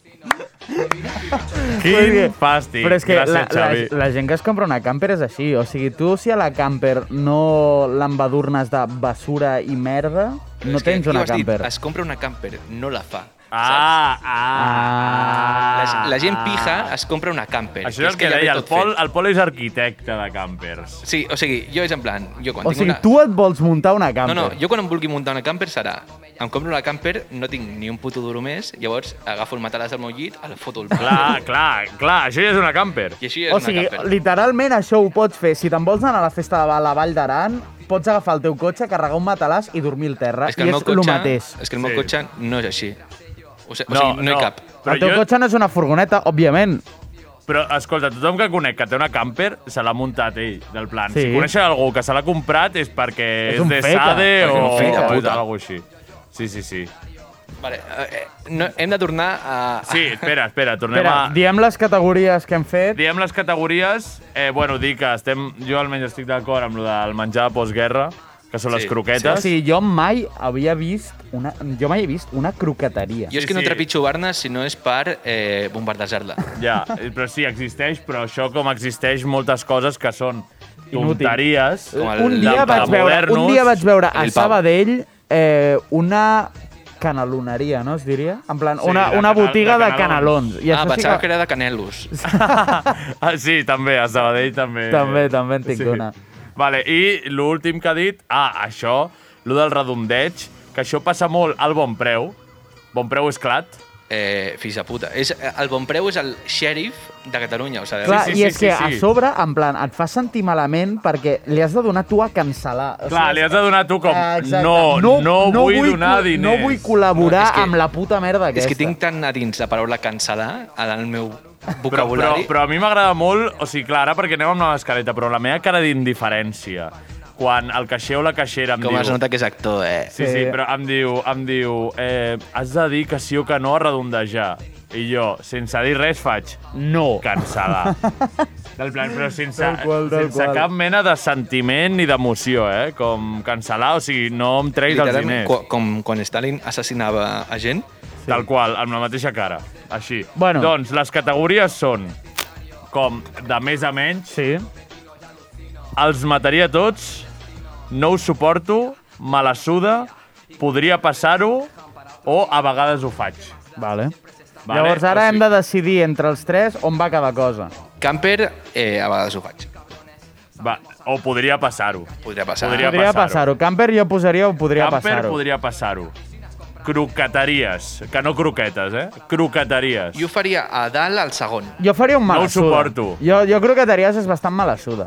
Speaker 2: Quin fàstic.
Speaker 6: Però és que
Speaker 2: Gràcies,
Speaker 6: la,
Speaker 2: Xavi.
Speaker 6: la, la gent que es compra una camper és així. O sigui, tu si a la camper no l'embadurnes de basura i merda,
Speaker 7: Però
Speaker 6: no
Speaker 7: és que
Speaker 6: tens
Speaker 7: aquí ho
Speaker 6: una
Speaker 7: has dit,
Speaker 6: camper.
Speaker 7: Es compra una camper, no la fa.
Speaker 2: Ah, ah,
Speaker 7: la, la gent pija es compra una camper.
Speaker 2: Això és el que,
Speaker 7: ja ve
Speaker 2: deia, el
Speaker 7: tot
Speaker 2: Pol,
Speaker 7: fet.
Speaker 2: el Pol és arquitecte de campers.
Speaker 7: Sí, o sigui, jo és en plan... Jo quan
Speaker 6: O
Speaker 7: tinc
Speaker 6: sigui,
Speaker 7: una...
Speaker 6: tu et vols muntar una camper.
Speaker 7: No, no, jo quan em vulgui muntar una camper serà... Em compro la camper, no tinc ni un puto duro més, llavors agafo el matalàs del meu llit, el foto al plat.
Speaker 2: Clar, clar, clar, això ja és una camper.
Speaker 7: I així és
Speaker 6: O sigui,
Speaker 7: una camper.
Speaker 6: literalment això ho pots fer. Si te'n vols anar a la festa de la Vall d'Aran, pots agafar el teu cotxe, carregar un matalàs i dormir al terra.
Speaker 7: És que
Speaker 6: I
Speaker 7: el meu
Speaker 6: és el
Speaker 7: cotxe,
Speaker 6: mateix.
Speaker 7: És que el meu
Speaker 6: Sí.
Speaker 7: cotxe no és així. O sigui, no, o sigui, no, hi cap.
Speaker 6: El teu cotxe no és una furgoneta, òbviament.
Speaker 2: Però, escolta, tothom que conec que té una camper se l'ha muntat ell, del plan.
Speaker 6: Sí.
Speaker 2: Si coneixes algú que se l'ha comprat és perquè
Speaker 6: És
Speaker 2: és,
Speaker 6: un
Speaker 2: de
Speaker 6: feca,
Speaker 2: Sade
Speaker 6: perquè
Speaker 2: o,
Speaker 6: és un feca,
Speaker 2: o és
Speaker 6: puta.
Speaker 2: alguna així. Sí, sí, sí.
Speaker 7: Vale, eh, eh, no, hem de tornar a...
Speaker 2: Sí, espera, espera, tornem
Speaker 6: Espera,
Speaker 2: a...
Speaker 6: diem les categories que hem fet.
Speaker 2: Diem les categories. Eh, bueno, dir que estem, jo almenys estic d'acord amb el del menjar de postguerra, que són les croquetes.
Speaker 6: O sigui, jo mai havia vist una, jo mai he vist una croqueteria.
Speaker 7: Jo és que no trepitjo Barna si no és per eh, bombardejar-la.
Speaker 2: Ja, eh, però sí, existeix, però això com existeix moltes coses que són
Speaker 6: Inútil. Eh,
Speaker 2: tonteries.
Speaker 6: un, dia vaig veure, un dia vaig veure a Sabadell eh, una canaluneria, no es diria? En plan,
Speaker 2: Sí,
Speaker 6: una,
Speaker 2: de
Speaker 6: una
Speaker 2: canal-
Speaker 6: botiga
Speaker 2: de
Speaker 6: de
Speaker 2: canalons.
Speaker 6: canalons. I
Speaker 7: ah,
Speaker 6: això sí
Speaker 7: pensava
Speaker 6: que...
Speaker 7: que era de Canelos.
Speaker 2: Ah, sí, també, a Sabadell també.
Speaker 6: També, també en tinc una.
Speaker 2: Vale, i l'últim que ha dit, ah, això, lo del redondeig, que això passa molt al bon preu. Bon preu és clat.
Speaker 7: Eh, fills de puta. És, el bon preu és el xèrif de Catalunya. O
Speaker 2: Eh?
Speaker 7: sigui,
Speaker 6: Clar, i és que a sobre, en plan, et fa sentir malament perquè li has de donar tu a cancel·lar. O
Speaker 2: Clar, li has de donar tu com,
Speaker 6: Ah, exacte.
Speaker 2: no, no, vull,
Speaker 6: col-
Speaker 2: donar
Speaker 6: No
Speaker 2: diners.
Speaker 6: vull col·laborar
Speaker 7: No,
Speaker 6: no,
Speaker 7: és que-
Speaker 6: amb la puta merda
Speaker 7: És
Speaker 6: aquesta.
Speaker 7: que tinc tan a dins la paraula cancel·lar en el meu
Speaker 2: Però, però,
Speaker 7: vocabulari.
Speaker 2: però a mi m'agrada molt, o sigui, clar, ara perquè anem amb la mascareta, però la meva cara d'indiferència, quan el caixer o la caixera em
Speaker 7: Com
Speaker 2: diu...
Speaker 7: es nota que és actor, eh?
Speaker 2: Sí, sí, però em diu, em diu eh, has de dir que sí o que no a redondejar. I jo, sense dir res, faig no cancel·lar. Del plan, però sense,
Speaker 6: Tal qual, tal
Speaker 2: sense
Speaker 6: qual.
Speaker 2: cap mena de sentiment ni d'emoció, eh? Com cancel·lar, o sigui, no em treguis els
Speaker 7: Literalment,
Speaker 2: diners.
Speaker 7: co- com quan Stalin assassinava a gent.
Speaker 2: Sí. Tal qual, amb la mateixa cara. Així.
Speaker 7: Bueno.
Speaker 2: Doncs les categories són com de més a menys.
Speaker 6: Sí.
Speaker 2: Els mataria a tots, no us suporto, me la suda, podria passar-ho o a vegades ho faig.
Speaker 6: Vale.
Speaker 2: Vale,
Speaker 6: Llavors ara hem de decidir entre els tres on va cada cosa.
Speaker 7: Camper, eh, a vegades ho faig.
Speaker 2: Va, o podria passar-ho.
Speaker 7: Podria passar.
Speaker 6: podria passar-ho. Camper jo posaria o podria
Speaker 2: Camper
Speaker 6: passar-ho.
Speaker 2: podria passar-ho. Croqueteries. Que no croquetes, eh? Croqueteries.
Speaker 7: Jo ho faria a dalt al segon.
Speaker 6: Jo faria un
Speaker 2: No ho
Speaker 6: mala suda.
Speaker 2: suporto.
Speaker 6: Jo, jo crec que Tarias és bastant mala suda.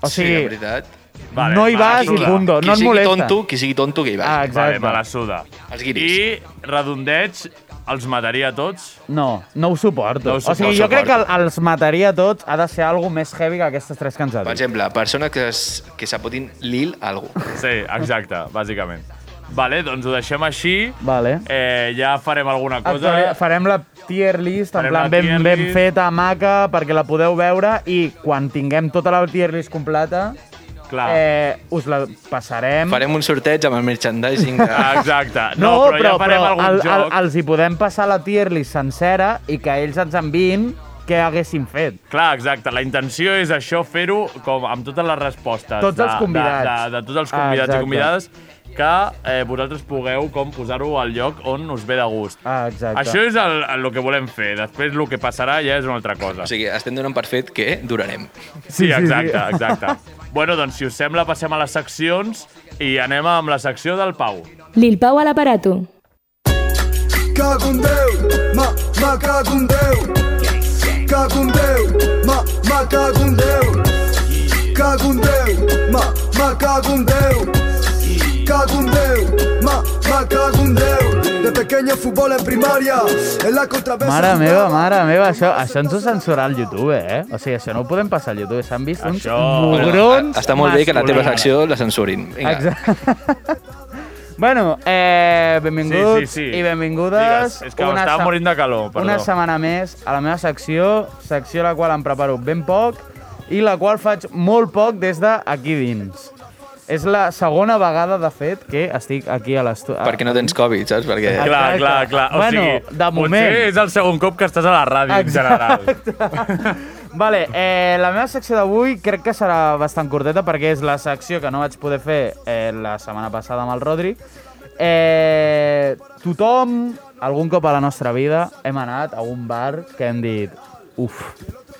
Speaker 6: O
Speaker 7: Sí,
Speaker 6: sigui,
Speaker 7: la veritat.
Speaker 6: Vale, no hi
Speaker 2: mala
Speaker 6: vas i
Speaker 2: suda.
Speaker 6: punto.
Speaker 2: Qui
Speaker 6: No et
Speaker 2: sigui
Speaker 6: molesta.
Speaker 7: Tonto, qui sigui tonto que hi vagi.
Speaker 6: Ah, exacte.
Speaker 2: Vale, me la suda. I redondets els mataria a tots.
Speaker 6: No, no ho suporto.
Speaker 2: No ho
Speaker 6: o sigui,
Speaker 2: suporto.
Speaker 6: jo crec que els mataria a tots. Ha de ser algo més heavy que aquestes tres que ens ha
Speaker 7: Per
Speaker 6: dit.
Speaker 7: exemple, persones que, es, que s'apotin Lil a algú.
Speaker 2: Sí, exacte, bàsicament. Vale, doncs ho deixem així.
Speaker 6: Vale.
Speaker 2: Eh, ja farem alguna cosa.
Speaker 6: Actuali- Farem la tier list, en
Speaker 2: Farem
Speaker 6: plan
Speaker 2: la
Speaker 6: ben,
Speaker 2: tier
Speaker 6: ben
Speaker 2: list.
Speaker 6: feta, maca, perquè la podeu veure i quan tinguem tota la tier list completa
Speaker 2: Clar.
Speaker 6: eh, us la passarem.
Speaker 7: Farem un sorteig amb el merchandising. De...
Speaker 2: Ah, Exacte.
Speaker 6: el- el- els hi podem passar la tier list sencera i que ells ens enviïn què haguessin fet.
Speaker 2: Clar, exacte. La intenció és això, fer-ho com amb totes les respostes.
Speaker 6: Tots els convidats. Ah,
Speaker 2: De, de, de tots els convidats
Speaker 6: Exacte.
Speaker 2: i convidades que eh, vosaltres pugueu com posar-ho al lloc on us ve de gust.
Speaker 6: Ah, exacte.
Speaker 2: Això és el, el que volem fer. Després el que passarà ja és una altra cosa.
Speaker 7: O sigui, estem donant per fet que durarem.
Speaker 2: Sí, exacte, exacte. bueno, doncs, si us sembla, passem a les seccions i anem amb la secció del Pau.
Speaker 11: Lil Pau a l'aparato.
Speaker 12: Cago en Déu, ma, ma cago en Déu. Cago en Déu, ma, ma cago en Déu. Cago en Déu, ma, ma cago en Déu. Cago en Déu, ma, ma cago en Déu. De pequeño fútbol en primaria, en la contravesa...
Speaker 6: Mare
Speaker 12: jugaba.
Speaker 6: meva, mare meva, això, això ens ho censurarà al YouTube, eh? O sigui, això no ho podem passar al YouTube. S'han vist uns mugrons
Speaker 7: Bueno, està molt bé que la teva
Speaker 6: masculins.
Speaker 7: secció la censurin. Vinga.
Speaker 6: Exacte. bueno, eh, benvinguts
Speaker 2: Sí, sí, sí.
Speaker 6: i
Speaker 2: Digues,
Speaker 6: benvingudes.
Speaker 2: és que m'estava
Speaker 6: se-
Speaker 2: morint de calor, perdó.
Speaker 6: Una setmana més a la meva secció, secció la qual em preparo ben poc i la qual faig molt poc des d'aquí dins. És la segona vegada, de fet, que estic aquí a l'estu...
Speaker 7: Perquè no tens Covid, saps? Perquè...
Speaker 6: Exacte.
Speaker 2: Clar, clar, clar. O
Speaker 6: Bueno,
Speaker 2: sigui,
Speaker 6: de moment.
Speaker 2: Potser és el segon cop que estàs a la ràdio, en general.
Speaker 6: Vale, eh, la meva secció d'avui crec que serà bastant curteta perquè és la secció que no vaig poder fer eh, la setmana passada amb el Rodri. Eh, tothom, algun cop a la nostra vida, hem anat a un bar que hem dit uf,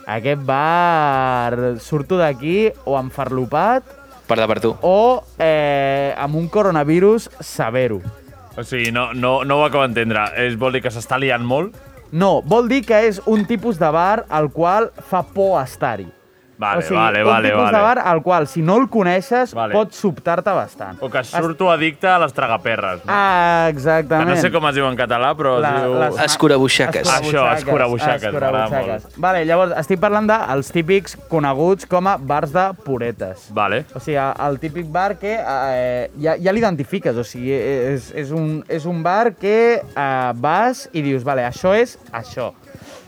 Speaker 6: aquest bar surto d'aquí o enfarlopat
Speaker 7: Per de per tu.
Speaker 6: o eh, amb un coronavirus severo.
Speaker 2: O sigui, no, no, no ho acabo d'entendre. És- Vol dir que s'està liant molt?
Speaker 6: No, vol dir que és un tipus de bar al qual fa por estar-hi.
Speaker 2: Vale,
Speaker 6: o sigui,
Speaker 2: vale,
Speaker 6: un
Speaker 2: vale,
Speaker 6: tipus
Speaker 2: vale.
Speaker 6: de bar al qual, si no el coneixes,
Speaker 2: Vale.
Speaker 6: vale. pots sobtar-te bastant.
Speaker 2: O que surto addicte a les tragaperres. No?
Speaker 6: Ah,
Speaker 2: Que
Speaker 6: exactament.
Speaker 2: no sé com es diu en català, però
Speaker 6: La-
Speaker 2: es diu...
Speaker 6: les-
Speaker 7: Escurabuixaques.
Speaker 2: Això, escurabuixaques, m'agrada
Speaker 6: escurabuixaques.
Speaker 2: molt.
Speaker 6: Vale, llavors, estic parlant dels típics coneguts com a bars de puretes.
Speaker 2: Vale.
Speaker 6: O sigui, el típic bar que eh, ja, ja l'identifiques, o sigui, és, és, un, és un bar que eh, vas i dius, vale, això és això.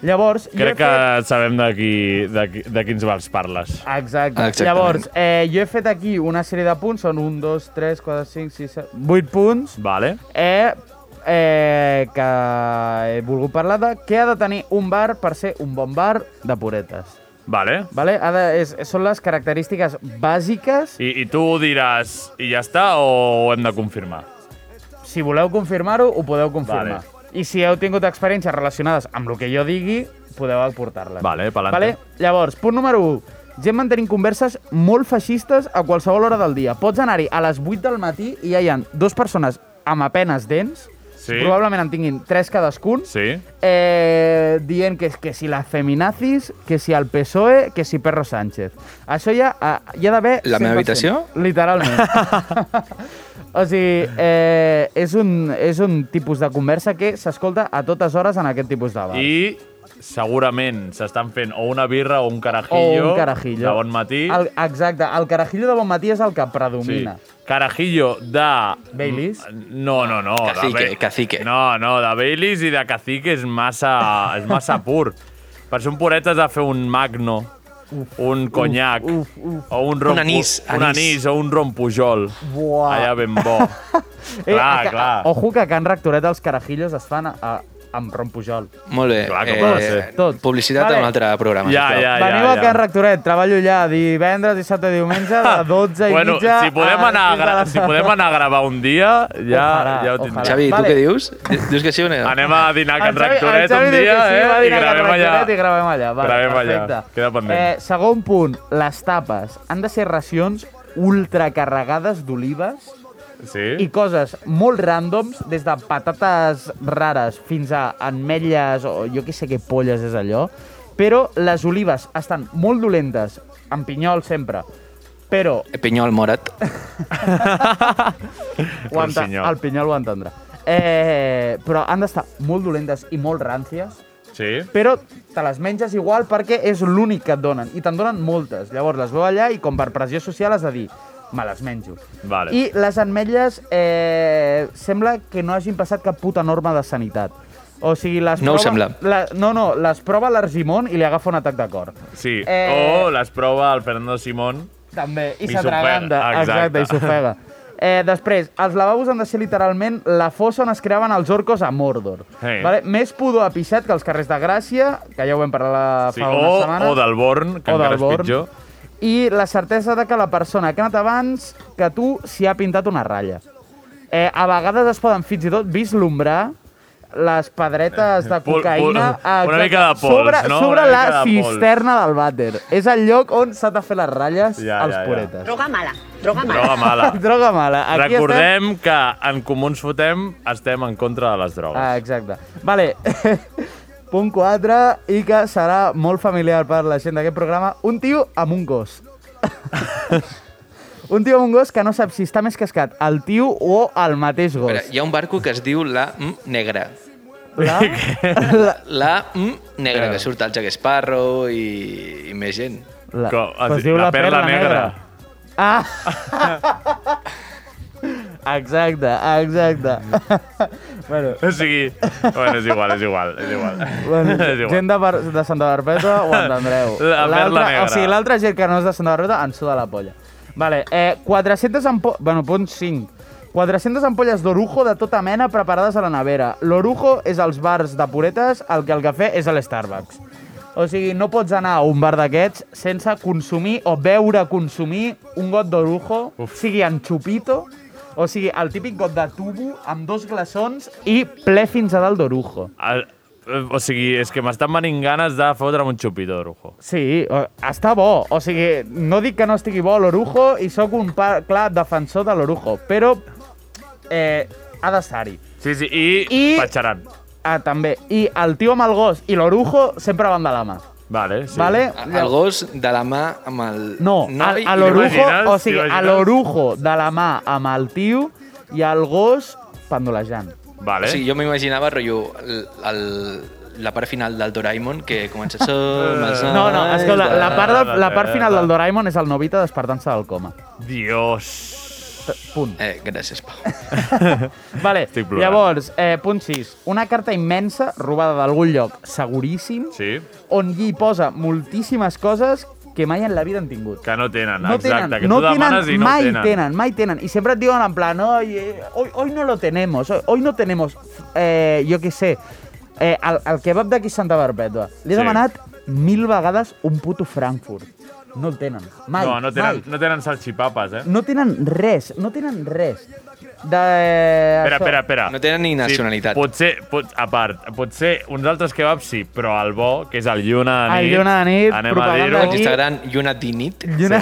Speaker 6: Llavors, jo he
Speaker 2: Crec que
Speaker 6: fet-
Speaker 2: sabem de, qui, de, qui, de quins bars parles.
Speaker 6: Exacte.
Speaker 2: Exactament.
Speaker 6: Llavors, eh, jo he fet aquí una sèrie de punts, són 1, 2, 3, 4, 5, 6, 7, 8 punts.
Speaker 2: Vale.
Speaker 6: Eh, eh, que he volgut parlar de què ha de tenir un bar per ser un bon bar de puretes.
Speaker 2: Vale.
Speaker 6: Vale? Ha de, és, són les característiques bàsiques.
Speaker 2: I, I tu ho diràs i ja està o ho hem de confirmar?
Speaker 6: Si voleu confirmar-ho, ho podeu confirmar. Vale. I si heu tingut experiències relacionades amb el que jo digui, podeu aportar-les.
Speaker 2: Vale, pa'lante.
Speaker 6: Vale? Llavors, punt número 1. Gent mantenint converses molt feixistes a qualsevol hora del dia. Pots anar-hi a les 8 del matí i ja hi ha dues persones amb apenes dents,
Speaker 2: Sí.
Speaker 6: probablement en tinguin tres cadascun,
Speaker 2: Sí.
Speaker 6: eh, dient que, que si les feminazis, que si el PSOE, E, que si Perro Sánchez. Això ja, ah, hi ha d'haver...
Speaker 7: La meva
Speaker 6: 100%,
Speaker 7: habitació?
Speaker 6: Literalment. o sigui, eh, és, un, és un tipus de conversa que s'escolta a totes hores en aquest tipus de bar.
Speaker 2: I segurament s'estan fent o una birra o un carajillo,
Speaker 6: O un carajillo.
Speaker 2: de bon matí.
Speaker 6: El, exacte, el carajillo de bon matí és el que predomina. Sí.
Speaker 2: Carajillo de...
Speaker 6: Baileys?
Speaker 2: No, no, no.
Speaker 7: Cacique,
Speaker 2: de cacique. No, no, de Baileys i de cacique és massa, és massa pur. Per ser un puret has de fer un magno, uf, un conyac, uf, uf. o un, rom,
Speaker 7: Un anís,
Speaker 2: un
Speaker 7: anís.
Speaker 2: anís, o un rompujol.
Speaker 6: Buah.
Speaker 2: Allà ben bo. clar,
Speaker 6: a,
Speaker 2: clar.
Speaker 6: A, ojo Eh, que a Can Rectoret els carajillos es fan a, a, amb Ron Pujol.
Speaker 7: Molt bé. Eh,
Speaker 2: Clar, com ha de ser.
Speaker 6: Tots.
Speaker 7: Publicitat
Speaker 6: Vale.
Speaker 7: vale. d'un altre programa.
Speaker 2: Ja,
Speaker 7: sisplau.
Speaker 2: ja, Ah,
Speaker 6: Veniu oh, a Can Rectoret, treballo allà divendres, dissabte, diumenge, de 12 i
Speaker 2: Bueno,
Speaker 6: mitja...
Speaker 2: si podem,
Speaker 6: a
Speaker 2: anar a,
Speaker 6: sis de la
Speaker 2: gra- si
Speaker 6: tarda.
Speaker 2: podem anar a gravar un dia, ja,
Speaker 6: Ojalà,
Speaker 2: ja ho tindrem.
Speaker 7: Xavi, tu què dius? Dius que sí o no?
Speaker 2: Anem a dinar a Can
Speaker 6: El Xavi- el
Speaker 2: Rectoret
Speaker 6: Xavi
Speaker 2: un
Speaker 6: diu que
Speaker 2: dia,
Speaker 6: sí,
Speaker 2: eh?
Speaker 6: va
Speaker 2: I
Speaker 6: dinar a Can
Speaker 2: gravem allà.
Speaker 6: Rectoret i gravem allà. Vale,
Speaker 2: Gravem allà.
Speaker 6: perfecte.
Speaker 2: Queda pendent.
Speaker 6: Eh, segon punt, les tapes. Han de ser racions ultracarregades d'olives
Speaker 2: Sí?
Speaker 6: i coses molt ràndoms, des de patates rares fins a ametlles o jo què sé què polles és allò, però les olives estan molt dolentes, amb pinyol sempre, però...
Speaker 7: Pinyol morat.
Speaker 6: Ho enta- el pinyol ho entendrà. Eh, però han d'estar molt dolentes i molt ràncies,
Speaker 2: Sí?
Speaker 6: però te les menges igual perquè és l'únic que et donen, i te'n donen moltes. Llavors les veu allà i com per pressió social has de dir me les menjo.
Speaker 2: Vale.
Speaker 6: I les ametlles eh, sembla que no hagin passat cap puta norma de sanitat. O sigui, les
Speaker 7: No ho
Speaker 6: prova-
Speaker 7: sembla.
Speaker 6: La, no, no, les prova l'Argimon i li agafa un atac de cor.
Speaker 2: Sí,
Speaker 6: Eh,
Speaker 2: o les prova el Fernando Simón.
Speaker 6: També, i,
Speaker 2: I
Speaker 6: s'atraganta.
Speaker 2: s'ofega, exacte.
Speaker 6: Exacte, i s'ofega. Eh, després, els lavabos han de ser literalment la fossa on es creaven els orcos a Mordor.
Speaker 2: Sí.
Speaker 6: Vale? Més pudor a pixat que els carrers de Gràcia, que ja ho vam parlar la,
Speaker 2: Sí,
Speaker 6: fa unes
Speaker 2: o,
Speaker 6: setmanes.
Speaker 2: o del Born, que
Speaker 6: O del
Speaker 2: encara és
Speaker 6: Born.
Speaker 2: pitjor.
Speaker 6: I la certesa de que la persona que ha anat abans que tu s'hi ha pintat una ratlla. Eh, a vegades es poden fins i tot vislumbrar les pedretes de
Speaker 2: Pol- pol-
Speaker 6: cocaïna
Speaker 2: una
Speaker 6: exacte,
Speaker 2: mica de pols,
Speaker 6: sobre,
Speaker 2: no?
Speaker 6: sobre
Speaker 2: Una
Speaker 6: la
Speaker 2: mica de pols.
Speaker 6: cisterna del vàter. És el lloc on s'ha de fer les ratlles
Speaker 2: Ja,
Speaker 6: als
Speaker 2: ja, ja.
Speaker 6: puretes.
Speaker 13: Droga mala, droga mala.
Speaker 2: Droga mala.
Speaker 6: Droga mala. Aquí
Speaker 2: Recordem estem... que en Comuns Fotem estem en contra de les drogues.
Speaker 6: Ah, exacte. Vale. Punt 4, i que serà molt familiar per la gent d'aquest programa, un tio amb un gos. un tio amb un gos que no sap si està més cascat el tio o el mateix gos.
Speaker 7: Espera, hi ha un barco que es diu la M negra.
Speaker 6: La?
Speaker 7: La, M negra, que surt el Jack Sparrow i, i més gent.
Speaker 6: La,
Speaker 2: Co- es Pues di- diu Ah, la la perla perla negra. negra.
Speaker 6: Ah! exacte, exacte. bueno.
Speaker 2: O sigui, bueno, és igual, és igual, és igual.
Speaker 6: Bueno,
Speaker 2: és igual.
Speaker 6: gent de, Bar de Santa Barbeta ho entendreu.
Speaker 2: La perla
Speaker 6: L'altra-
Speaker 2: negra.
Speaker 6: O sigui, l'altra gent que no és de Santa Barbeta ens suda la polla. Vale, eh, 400 ampolles... Bueno, punt 5. 400 ampolles d'orujo de tota mena preparades a la nevera. L'orujo és als bars de puretes, el que el cafè és a l'Starbucks. O sigui, no pots anar a un bar d'aquests sense consumir o veure consumir un got d'orujo, sigui en xupito, o sigui, el típic got de tubo amb dos glaçons i ple fins a dalt d'orujo.
Speaker 2: El, Ah, o sigui, és que m'estan venint ganes de fotre'm un xupito d'orujo.
Speaker 6: Sí, o- està bo. O sigui, no dic que no estigui bo l'orujo i sóc un pa, clar defensor de l'orujo, però eh, ha de ser-hi.
Speaker 2: Sí, sí, i, I... patxaran.
Speaker 6: Ah, també. I el tio amb el gos i l'orujo sempre van de la mà.
Speaker 2: Vale, sí.
Speaker 6: Vale?
Speaker 7: El, el gos de la mà amb el...
Speaker 6: No, a,
Speaker 7: noi
Speaker 6: a
Speaker 7: i
Speaker 6: l'orujo,
Speaker 7: l'orella.
Speaker 6: o sigui, a l'orujo de la mà amb el tio i el gos pendolejant.
Speaker 2: Vale.
Speaker 7: O sigui, jo m'imaginava, rotllo, el, el, la part final del Doraemon, que comença... Som els
Speaker 6: No, no,
Speaker 7: nois
Speaker 6: escolta,
Speaker 7: de-
Speaker 6: la part, del, la part final del Doraemon és el Novita despertant-se del coma.
Speaker 2: Dios.
Speaker 6: Punt.
Speaker 7: Eh, gràcies, Pau.
Speaker 6: Vale,
Speaker 7: Estic plorant.
Speaker 6: llavors, eh, punt 6. Una carta immensa, robada d'algun lloc, seguríssim,
Speaker 2: sí.
Speaker 6: on hi posa moltíssimes coses que mai en la vida han tingut.
Speaker 2: Que no tenen,
Speaker 6: No
Speaker 2: exacte.
Speaker 6: tenen,
Speaker 2: que
Speaker 6: no
Speaker 2: tu demanes
Speaker 6: tenen,
Speaker 2: i no
Speaker 6: mai
Speaker 2: tenen.
Speaker 6: tenen, mai tenen. I sempre et diuen en plan, hoy, eh, hoy, hoy no lo tenemos, hoy, hoy no tenemos, eh, jo què sé, eh, el, el kebab d'aquí Santa Barbètua. Li he
Speaker 2: Sí.
Speaker 6: demanat mil vegades un puto Frankfurt. No el tenen, mai,
Speaker 2: no, no tenen,
Speaker 6: mai.
Speaker 2: no tenen salxipapes, eh?
Speaker 6: No tenen res, no tenen res. De...
Speaker 2: Espera, espera, espera.
Speaker 7: No tenen ni nacionalitat.
Speaker 2: Ah. Sí, potser, pot, a part, potser uns altres kebabs sí, però el bo, que és el lluna de
Speaker 6: El
Speaker 2: nit...
Speaker 6: lluna de nit,
Speaker 2: anem a
Speaker 6: propaganda
Speaker 2: dir-ho.
Speaker 6: aquí. Instagram,
Speaker 7: lluna de nit.
Speaker 6: Lluna-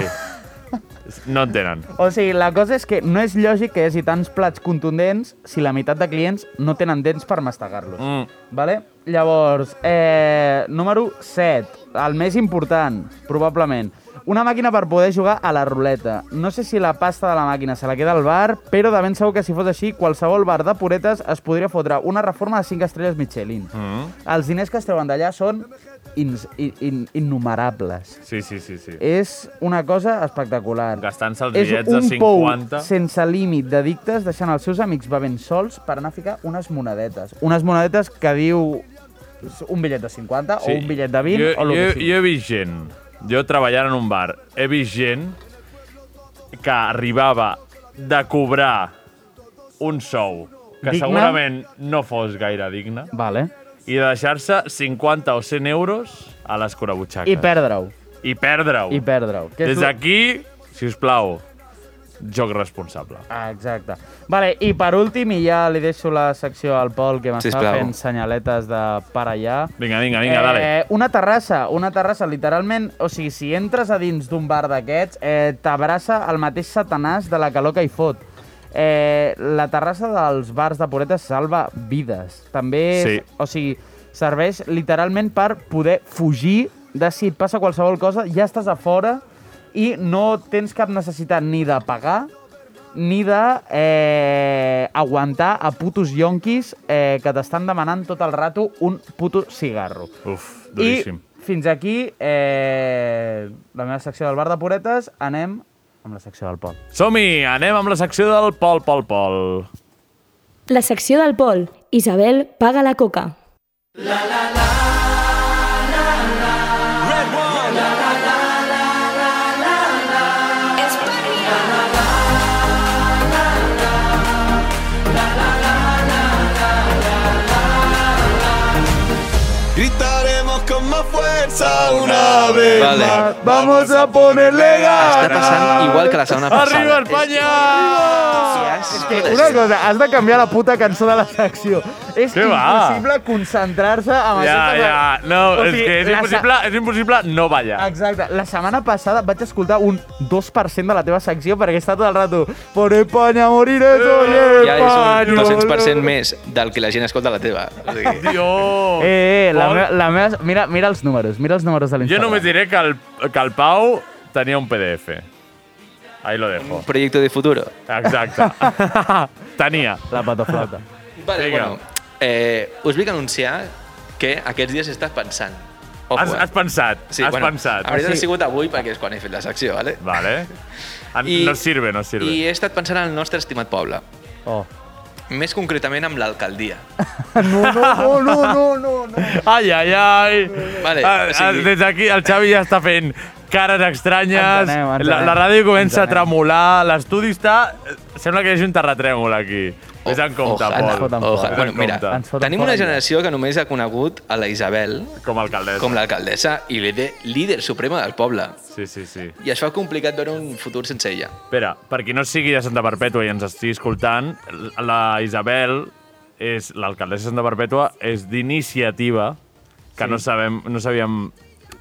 Speaker 2: Sí. No en tenen.
Speaker 6: O sigui, la cosa és que no és lògic que hi hagi tants plats contundents si la meitat de clients no tenen dents per mastegar-los.
Speaker 2: Mm.
Speaker 6: Vale? Llavors, eh, número 7, el més important, probablement. Una màquina per poder jugar a la ruleta. No sé si la pasta de la màquina se la queda al bar, però de ben segur que si fos així, qualsevol bar de puretes es podria fotre una reforma de 5 estrelles Michelin.
Speaker 2: Mm.
Speaker 6: Els diners que es treuen d'allà són ins, in, in, innumerables.
Speaker 2: Sí, sí, sí. sí.
Speaker 6: És una cosa espectacular.
Speaker 2: Gastant-se els
Speaker 6: És
Speaker 2: bitllets de
Speaker 6: un pou
Speaker 2: 50...
Speaker 6: sense límit d'addictes deixant els seus amics bevent sols per anar a ficar unes monedetes. Unes monedetes que diu un bitllet de 50 sí. o un bitllet de 20
Speaker 2: jo,
Speaker 6: o el
Speaker 2: jo,
Speaker 6: que sigui.
Speaker 2: Jo he vist gent, jo treballant en un bar, he vist gent que arribava de cobrar un sou que
Speaker 6: Digne?
Speaker 2: segurament no fos gaire digne
Speaker 6: vale.
Speaker 2: i de deixar-se 50 o 100 euros a les corabutxaques.
Speaker 6: I perdre-ho.
Speaker 2: I perdre-ho.
Speaker 6: I perdre-ho. Que és
Speaker 2: Des
Speaker 6: lo-
Speaker 2: d'aquí, si us plau, joc responsable.
Speaker 6: Ah, exacte. Vale, i per últim, i ja li deixo la secció al Pol, que m'està
Speaker 2: Sisplau.
Speaker 6: fent senyaletes de per allà.
Speaker 2: Vinga, vinga, vinga, eh... dale.
Speaker 6: Una terrassa, una terrassa, literalment, o sigui, si entres a dins d'un bar d'aquests, eh, t'abraça el mateix satanàs de la calor que hi fot. Eh, la terrassa dels bars de Poretes salva vides. També,
Speaker 13: Sí.
Speaker 6: o sigui, serveix literalment per poder fugir de si et passa qualsevol cosa, ja estàs a fora i no tens cap necessitat ni de pagar ni de eh, aguantar a putos yonquis eh, que t'estan demanant tot el rato un puto cigarro.
Speaker 2: Uf, duríssim.
Speaker 6: I fins aquí eh, la meva secció del bar de Poretes. Anem amb la secció del Pol.
Speaker 2: Som-hi, anem amb la secció del Pol, Pol, Pol.
Speaker 11: La secció del Pol. Isabel paga la coca.
Speaker 12: Gritaremos con más fuerza una vez
Speaker 7: Vale.
Speaker 12: más. Vamos a ponerle ganas.
Speaker 7: Està passant igual que la setmana passada.
Speaker 12: Arriba
Speaker 6: el És que una cosa, has de canviar la puta cançó de la secció. És
Speaker 2: Què va?
Speaker 6: impossible concentrar-se amb
Speaker 2: Ja,
Speaker 6: aquestes-
Speaker 2: ja, no,
Speaker 6: O
Speaker 2: és
Speaker 6: sigui,
Speaker 2: que és
Speaker 6: la se-
Speaker 2: impossible, és impossible no ballar.
Speaker 6: Exacte. La setmana passada vaig escoltar un 2% de la teva secció perquè està tot el rato Por España moriré soy
Speaker 7: Eh, Ja és un
Speaker 6: español".
Speaker 7: 200% més del que la gent escolta la teva. O sigui,
Speaker 2: Dios.
Speaker 6: Eh, eh, la,
Speaker 2: Pol.
Speaker 6: me la meva... Mira, mira els números, mira els números de
Speaker 2: Yo
Speaker 6: l'Instagram.
Speaker 2: no me diré que el, que el Pau tenía un PDF. Ahí lo dejo. Un
Speaker 7: proyecto de futuro.
Speaker 2: Exacto. Tania.
Speaker 6: La patoflauta.
Speaker 7: Vale, bueno, eh, us vinc a anunciar que aquests dies he estat pensant. Ojo,
Speaker 2: Has-
Speaker 7: eh?
Speaker 2: has pensat, has pensat.
Speaker 7: En veritat
Speaker 2: Ah, sí.
Speaker 7: ha sigut avui perquè és quan he fet la secció, vale?
Speaker 2: Vale.
Speaker 7: I-
Speaker 2: no sirve, no sirve.
Speaker 7: I he estat pensant en el nostre estimat poble.
Speaker 6: Oh.
Speaker 7: Més concretament amb l'alcaldia.
Speaker 6: No, no, no, no, no, no.
Speaker 2: Ai, ai, ai.
Speaker 7: Vale,
Speaker 2: Ah,
Speaker 7: o
Speaker 2: ah,
Speaker 7: sigui-
Speaker 2: Des d'aquí el Xavi ja està fent cares estranyes,
Speaker 6: Ens anem, ens
Speaker 2: la,
Speaker 6: anem.
Speaker 2: la ràdio comença a
Speaker 6: Ens anem.
Speaker 2: tremolar, l'estudi està... Sembla que hi hagi un terratrèmol aquí.
Speaker 7: Oh,
Speaker 2: Vés en compte,
Speaker 7: Ojalà,
Speaker 2: Pol.
Speaker 7: ojalà.
Speaker 2: Vés
Speaker 7: Bueno,
Speaker 2: en
Speaker 7: mira,
Speaker 2: compte.
Speaker 7: tenim una generació que només ha conegut a la Isabel
Speaker 2: com a alcaldessa,
Speaker 7: com l'alcaldessa i líder, líder suprema del poble.
Speaker 2: Sí, sí, sí.
Speaker 7: I es fa complicat veure un futur sense ella.
Speaker 2: Espera, per qui no sigui de Santa Perpètua i ens estigui escoltant, la Isabel, és l'alcaldessa de Santa Perpètua, és d'iniciativa, que
Speaker 7: Sí.
Speaker 2: sí. no, sabem, no sabíem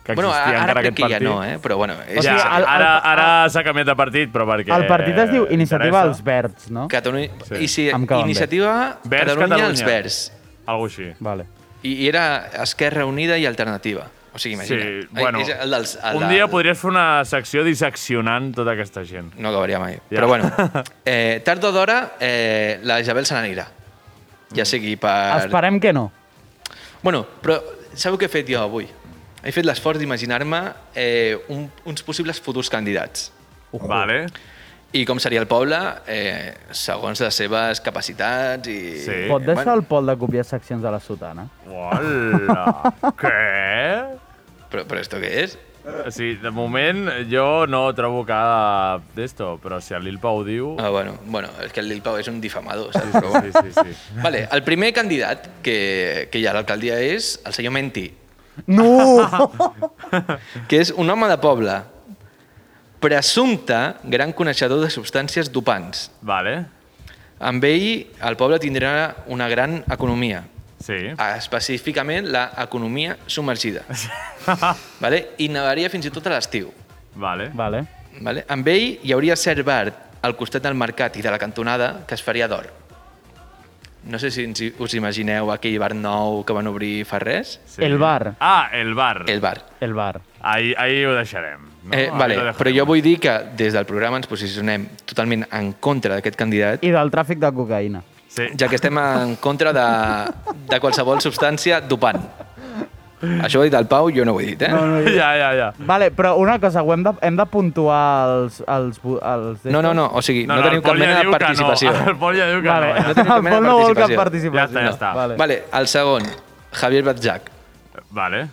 Speaker 2: que existia
Speaker 7: Bueno, ara- ara
Speaker 2: encara
Speaker 7: crec
Speaker 2: aquest
Speaker 7: que ja
Speaker 2: partit.
Speaker 7: no, eh, però bueno, és-
Speaker 2: Ja,
Speaker 7: O sigui, el- el-
Speaker 2: ara ara s'ha canviat de partit, però perquè...
Speaker 6: El partit es diu Iniciativa
Speaker 2: interessa.
Speaker 6: als Verds, no?
Speaker 7: Catalunya... Sí. I si
Speaker 6: Em cauen bé.
Speaker 7: iniciativa
Speaker 2: Verds,
Speaker 7: Catalunya,
Speaker 2: Catalunya.
Speaker 7: als Verds.
Speaker 2: Algo així.
Speaker 6: Vale.
Speaker 7: I, I era Esquerra Unida i Alternativa. O sigui, imagina.
Speaker 2: Sí,
Speaker 7: Ai,
Speaker 2: bueno,
Speaker 7: és el dels, el
Speaker 2: un
Speaker 7: del-
Speaker 2: dia podries fer una secció disseccionant tota aquesta gent.
Speaker 7: No acabaria mai. Però bueno, eh, tard o d'hora eh, la Isabel se n'anirà. Ja sigui per...
Speaker 6: Esperem que no.
Speaker 7: Bueno, però sabeu què he fet jo avui? He fet l'esforç d'imaginar-me eh, un, uns possibles futurs candidats.
Speaker 2: Ujú. Vale.
Speaker 7: I com seria el poble, eh, segons les seves capacitats i... Sí.
Speaker 6: Pot deixar el Pol de copiar seccions de la sotana?
Speaker 2: Hola. Què?
Speaker 7: Però, però esto què és?
Speaker 2: Sí, de moment jo no trobo cada d'esto, però si el Lil Pau diu...
Speaker 7: Ah, bueno, bueno, és que el Lil Pau és un difamador, saps?
Speaker 2: Sí, sí, sí, sí, sí.
Speaker 7: Vale, el primer candidat que, que hi ha a l'alcaldia és el senyor Menti,
Speaker 6: No!
Speaker 7: que és un home de poble, presumpte gran coneixedor de substàncies dopants.
Speaker 2: Vale.
Speaker 7: Amb ell, el poble tindrà una gran economia.
Speaker 2: Sí.
Speaker 7: Ah, Específicament, l'economia submergida. vale? I nevaria fins i tot a l'estiu.
Speaker 2: Vale.
Speaker 6: Vale.
Speaker 7: Vale? Amb ell hi hauria cert bar al costat del mercat i de la cantonada que es faria d'or. No sé si ens hi- us imagineu aquell bar nou que van obrir fa res.
Speaker 2: Sí. El bar. Ah, el bar. El
Speaker 7: bar.
Speaker 6: El bar.
Speaker 2: Ahí, ahí ho deixarem. No?
Speaker 7: Eh,
Speaker 2: Ahí
Speaker 7: vale,
Speaker 2: lo
Speaker 7: però jo vull dir que des del programa ens posicionem totalment en contra d'aquest candidat,
Speaker 6: I del tràfic de cocaïna.
Speaker 2: sí.
Speaker 7: ja que estem en contra de, de qualsevol substància dopant. Això ho ha dit el Pau, jo no ho he dit, eh?
Speaker 6: No, no, jo-
Speaker 2: Ja, ja, ja.
Speaker 6: Vale, però una cosa, ho hem de, hem de puntuar els... els, bu- els
Speaker 7: No, no, no, o sigui, no, no, no teniu
Speaker 2: el
Speaker 7: cap
Speaker 2: Pol ja
Speaker 7: mena
Speaker 2: diu
Speaker 7: de
Speaker 2: que
Speaker 7: participació.
Speaker 2: No. El Pol ja diu que
Speaker 6: Vale.
Speaker 2: no.
Speaker 7: Ah, No teniu cap mena
Speaker 6: Pol
Speaker 7: de
Speaker 6: no vol cap
Speaker 7: participació.
Speaker 6: participació.
Speaker 2: Ja està, ja
Speaker 7: Vale.
Speaker 2: està.
Speaker 7: vale, el segon, Javier Batzac.
Speaker 2: Vale.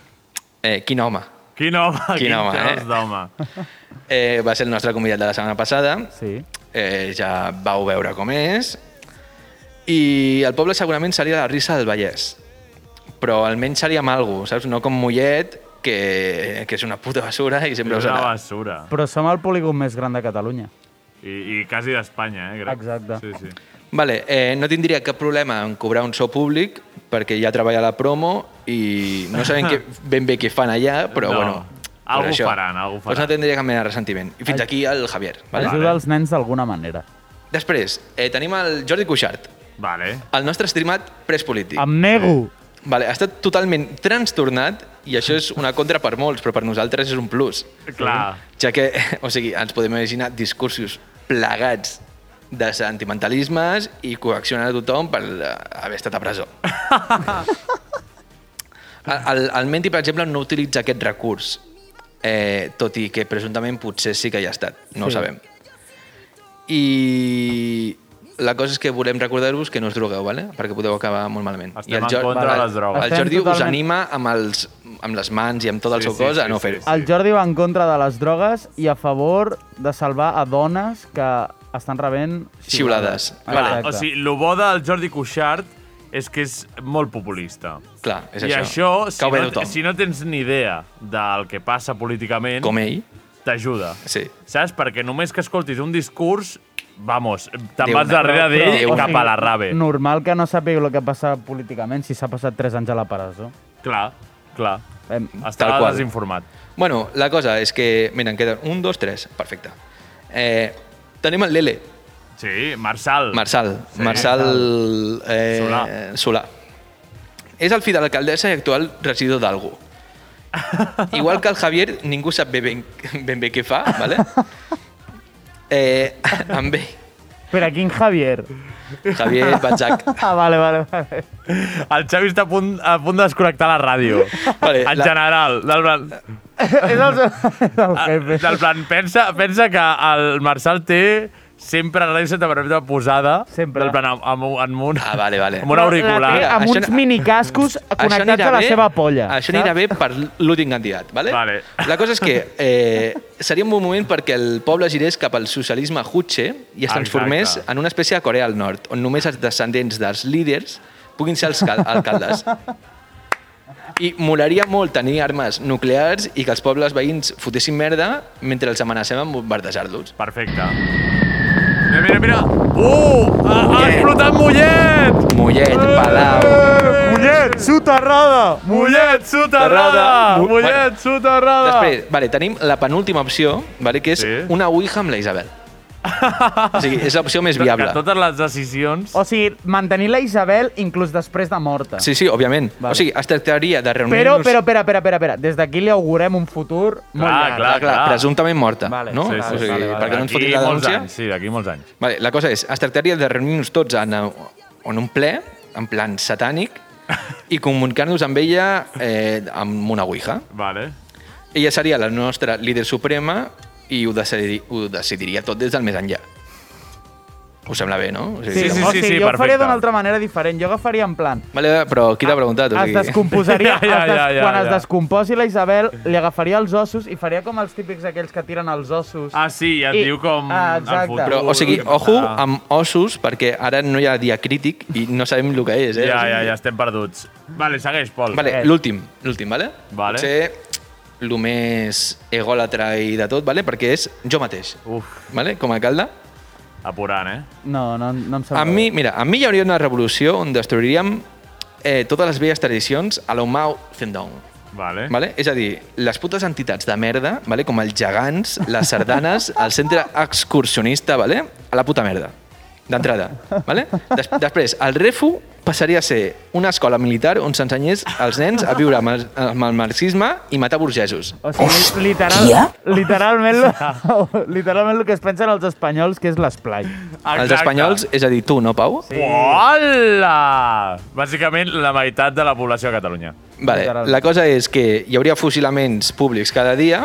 Speaker 7: Eh, quin home.
Speaker 2: Quin home,
Speaker 7: Quin
Speaker 2: quin
Speaker 7: home,
Speaker 2: tros
Speaker 7: eh?
Speaker 2: d'home.
Speaker 7: Eh, va ser el nostre convidat de la setmana passada.
Speaker 6: Sí.
Speaker 7: Eh, ja vau veure com és. I el poble segurament seria la risa del Vallès. Però almenys seria amb algú, saps? No com Mollet, que, que és una puta basura i sempre
Speaker 2: És
Speaker 7: us
Speaker 2: una
Speaker 7: agrada.
Speaker 2: basura.
Speaker 6: Però som el polígon més gran de Catalunya.
Speaker 2: I, i quasi d'Espanya, eh? Crec.
Speaker 6: Exacte.
Speaker 2: Sí, sí.
Speaker 7: Vale, eh, no tindria cap problema en cobrar un sou públic perquè ja treballa la promo i no sabem què, ben bé què fan allà, però
Speaker 2: No.
Speaker 7: bueno.
Speaker 2: Algú
Speaker 7: però això.
Speaker 2: faran, algú
Speaker 7: Doncs no
Speaker 2: faran.
Speaker 7: tindria cap mena de ressentiment. I fins aquí el Javier. Vale?
Speaker 6: Ajuda els nens d'alguna manera.
Speaker 7: Després, eh, tenim el Jordi Cuixart.
Speaker 2: Vale.
Speaker 7: El nostre estimat pres polític.
Speaker 6: Em nego.
Speaker 7: Vale, ha estat totalment trastornat i això és una contra per molts, però per nosaltres és un plus.
Speaker 2: Clar.
Speaker 7: Ja que, o sigui, ens podem imaginar discursos plegats de sentimentalismes i coaccionar a tothom per eh, haver estat a presó. El, el, el Menti, per exemple, no utilitza aquest recurs, eh, tot i que presumptament potser sí que hi ha estat, no
Speaker 13: Sí.
Speaker 7: sí. ho sabem. I la cosa és que volem recordar-vos que no us drogueu, vale? perquè podeu acabar molt malament.
Speaker 2: Estem en contra de les drogues.
Speaker 7: El
Speaker 2: Estem
Speaker 7: Jordi us
Speaker 6: totalment-
Speaker 7: anima amb, els, amb les mans i amb tot el
Speaker 2: Sí,
Speaker 7: seu
Speaker 2: sí,
Speaker 7: cos a
Speaker 2: sí,
Speaker 7: no
Speaker 2: sí,
Speaker 7: fer-ho.
Speaker 6: El Jordi va en contra de les drogues i a favor de salvar a dones que estan rebent
Speaker 7: Xiulades.
Speaker 2: Vale.
Speaker 6: Exacte.
Speaker 2: O sigui, el bo del Jordi Cuixart és que és molt populista.
Speaker 7: Clar, és
Speaker 2: I això,
Speaker 7: això.
Speaker 2: si
Speaker 7: Cau bé
Speaker 2: no,
Speaker 7: tothom.
Speaker 2: si no tens ni idea del que passa políticament...
Speaker 7: Com ell.
Speaker 2: T'ajuda.
Speaker 7: Sí.
Speaker 2: Saps? Perquè només que escoltis un discurs, vamos, te'n
Speaker 7: Déu
Speaker 2: vas
Speaker 7: n'hi ha.
Speaker 2: darrere d'ell
Speaker 7: Déu n'hi ha.
Speaker 2: cap a la rave.
Speaker 6: Normal que no sàpiga el que passa políticament si s'ha passat 3 anys a la presó.
Speaker 2: Clar, clar.
Speaker 6: Em,
Speaker 2: Estava desinformat.
Speaker 7: Bueno, la cosa és que... Mira, en queden un, dos, tres. Perfecte. Eh, tenim el Lele.
Speaker 2: Sí, Marçal.
Speaker 7: Marçal. Sí, Marçal eh, Solà. Solà. És el fill de l'alcaldessa i actual regidor d'Algú. Igual que el Javier, ningú sap bé ben, ben bé què fa, ¿vale? Eh, amb ell,
Speaker 6: Però quin Javier?
Speaker 7: Javier Batzac.
Speaker 6: Ah, vale, vale, vale.
Speaker 2: El Xavi està a punt, a punt de desconnectar la ràdio.
Speaker 7: Vale,
Speaker 2: en
Speaker 7: la-
Speaker 2: general, del plan...
Speaker 6: és el, el
Speaker 2: jefe. Del plan, pensa, pensa que el Marçal té sempre la ràdio Santa Barbeta posada. Sempre. Del plan, amb, amb, amb un, ah,
Speaker 7: vale, vale.
Speaker 2: amb un auricular.
Speaker 6: té amb uns minicascos connectats
Speaker 7: anirà
Speaker 6: a la
Speaker 7: bé-
Speaker 6: seva polla.
Speaker 7: Això anirà
Speaker 6: saps?
Speaker 7: bé per l'últim candidat, vale? vale? La cosa és que eh, seria un bon moment perquè el poble girés cap al socialisme hutxe i es
Speaker 13: Exacte.
Speaker 7: transformés en una espècie de Corea del Nord, on només els descendents dels líders puguin ser els cal- alcaldes. I molaria molt tenir armes nuclears i que els pobles veïns fotessin merda mentre els amenacem amb bombardejar-los.
Speaker 2: Perfecte. Mira, mira, mira. Uh! Ha, ha explotat Eh, Mollet!
Speaker 7: Mollet, Palau...
Speaker 2: Mollet, soterrada! Mollet, soterrada!
Speaker 7: Mu-
Speaker 2: Mollet,
Speaker 7: Bueno.
Speaker 2: soterrada!
Speaker 7: Després, vale, tenim la penúltima opció, vale, que és sí. una ouija amb la Isabel. o sigui, és l'opció més viable. Oh,
Speaker 2: Que tota- totes les decisions...
Speaker 6: O sigui, mantenir la Isabel inclús després de morta.
Speaker 7: Sí, sí, òbviament. Vale. O sigui, es tractaria de reunir-nos...
Speaker 6: Però, però, espera, espera, espera, espera. Des d'aquí li augurem un futur molt llarg.
Speaker 7: Presumptament morta, vale. no?
Speaker 2: Sí, sí,
Speaker 7: o sigui,
Speaker 2: vale, vale.
Speaker 7: perquè no ens fotin
Speaker 2: D'aquí
Speaker 7: la
Speaker 2: molts
Speaker 7: denúncia.
Speaker 2: anys, sí, d'aquí molts anys.
Speaker 7: Vale, la cosa és, es tractaria de reunir-nos tots en, en un ple, en plan satànic, i comunicar-nos amb ella eh, amb una ouija.
Speaker 2: Vale.
Speaker 7: Ella seria la nostra líder suprema i ho, decidi, ho decidiria tot des del més enllà. Us sembla bé, no? O
Speaker 6: Sí, sí, sí, o sigui, jo ho faria d'una altra manera diferent. Jo agafaria en plan...
Speaker 7: Vale, però qui t'ha preguntat? O
Speaker 6: Es
Speaker 7: sigui...
Speaker 6: descomposaria, es des... quan es descomposi la Isabel, li agafaria els ossos i faria com els típics aquells que tiren els ossos.
Speaker 2: Ah, sí, ja et diu com
Speaker 6: Ah,
Speaker 2: el
Speaker 6: exacte.
Speaker 2: futur.
Speaker 7: Però, o sigui,
Speaker 2: Ui,
Speaker 7: ojo
Speaker 2: ah.
Speaker 7: amb ossos, perquè ara no hi ha diacrític i no sabem el que és, eh?
Speaker 2: Ja,
Speaker 7: O sigui-
Speaker 2: ja, ja, estem perduts. Vale, segueix, Pol. Eh,
Speaker 7: Vale, l'últim, l'últim, vale?
Speaker 2: Vale.
Speaker 7: Potser el més ególatra i de tot, vale? Perquè és jo mateix.
Speaker 2: Uf.
Speaker 7: Vale? Com a alcalde.
Speaker 2: Apurant, eh?
Speaker 6: No, no, no em sembla
Speaker 7: A mi, mira, a mi hi hauria una revolució on destruiríem eh, totes les velles tradicions a lo Mao Zedong.
Speaker 2: Vale.
Speaker 7: Vale? És a dir, les putes entitats de merda, vale? com els gegants, les sardanes, el centre excursionista, vale? a la puta merda, d'entrada. Vale? Des després, el refu passaria a ser una escola militar on s'ensenyés als nens a viure amb el, amb el marxisme i matar burgesos.
Speaker 6: O sigui, literal, literalment, lo, literalment el que es pensen els espanyols, que és l'esplai.
Speaker 7: Els espanyols, és a dir, tu, no, Pau?
Speaker 2: Sí. Hola! Bàsicament, la meitat de la població de Catalunya.
Speaker 7: Vale, la cosa és que hi hauria fusilaments públics cada dia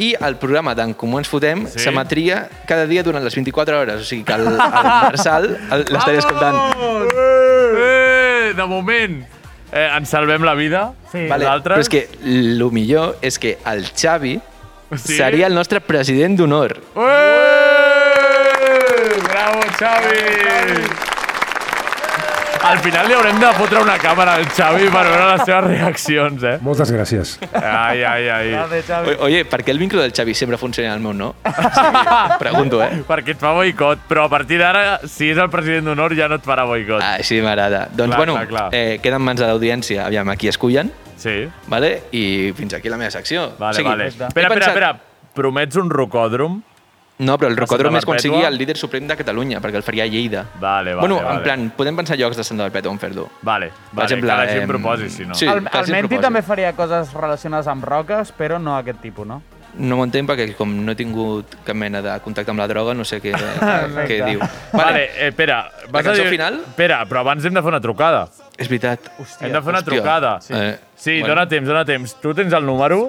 Speaker 7: i el programa d'en Comú ens fotem
Speaker 2: Sí.
Speaker 7: s'emetria cada dia durant les 24 hores. O sigui que el, el Marçal el- l'estaria escoltant.
Speaker 2: Eh, de moment, eh, ens salvem la vida. Sí.
Speaker 7: Vale, però és que el millor és que el Xavi
Speaker 2: Sí? Eh!
Speaker 7: seria el nostre president d'honor.
Speaker 2: Bravo, Xavi! Al final li haurem de fotre una càmera al Xavi per veure les seves reaccions, eh?
Speaker 14: Moltes gràcies.
Speaker 2: Ai, ai, ai.
Speaker 7: O- Oye, per què el micro del Xavi sempre funciona al meu no? O sigui, Pregunto, eh?
Speaker 2: Perquè et fa boicot, però a partir d'ara, si és el president d'honor, ja no et farà boicot.
Speaker 7: Així m'agrada. Doncs,
Speaker 2: Clar,
Speaker 7: bueno,
Speaker 2: clar, clar.
Speaker 7: Eh, queda en mans de l'audiència. Aviam, aquí es cullen.
Speaker 2: Sí.
Speaker 7: Vale? I fins aquí la meva secció.
Speaker 2: Vale, vale. Espera, espera, espera. Promets un rocòdrom?
Speaker 7: No, però el rocòdrom és
Speaker 2: Perpètua?
Speaker 7: aconseguir el líder suprem de Catalunya, perquè el faria a Lleida.
Speaker 2: Vale, vale,
Speaker 7: bueno,
Speaker 2: vale.
Speaker 7: en plan, podem pensar llocs de Santa Perpètua on fer-lo.
Speaker 2: Vale, vale, que la gent proposi, si no.
Speaker 7: Sí,
Speaker 6: el,
Speaker 7: que la
Speaker 6: el
Speaker 7: gent
Speaker 6: Menti
Speaker 7: proposi.
Speaker 6: també faria coses relacionades amb roques, però no aquest tipus, no?
Speaker 7: No m'ho entenc perquè com no he tingut cap mena de contacte amb la droga, no sé què,
Speaker 6: Perfecte.
Speaker 7: què diu.
Speaker 2: Vale, eh, espera. Vas
Speaker 7: cançó
Speaker 2: a dir...
Speaker 7: final?
Speaker 2: Espera, però abans hem de fer una trucada.
Speaker 7: És veritat.
Speaker 2: Hòstia, hem de fer una
Speaker 7: hòstia.
Speaker 2: trucada.
Speaker 7: Sí. Eh,
Speaker 2: sí
Speaker 7: bueno.
Speaker 2: bueno. dona temps, dona temps. Tu tens el número?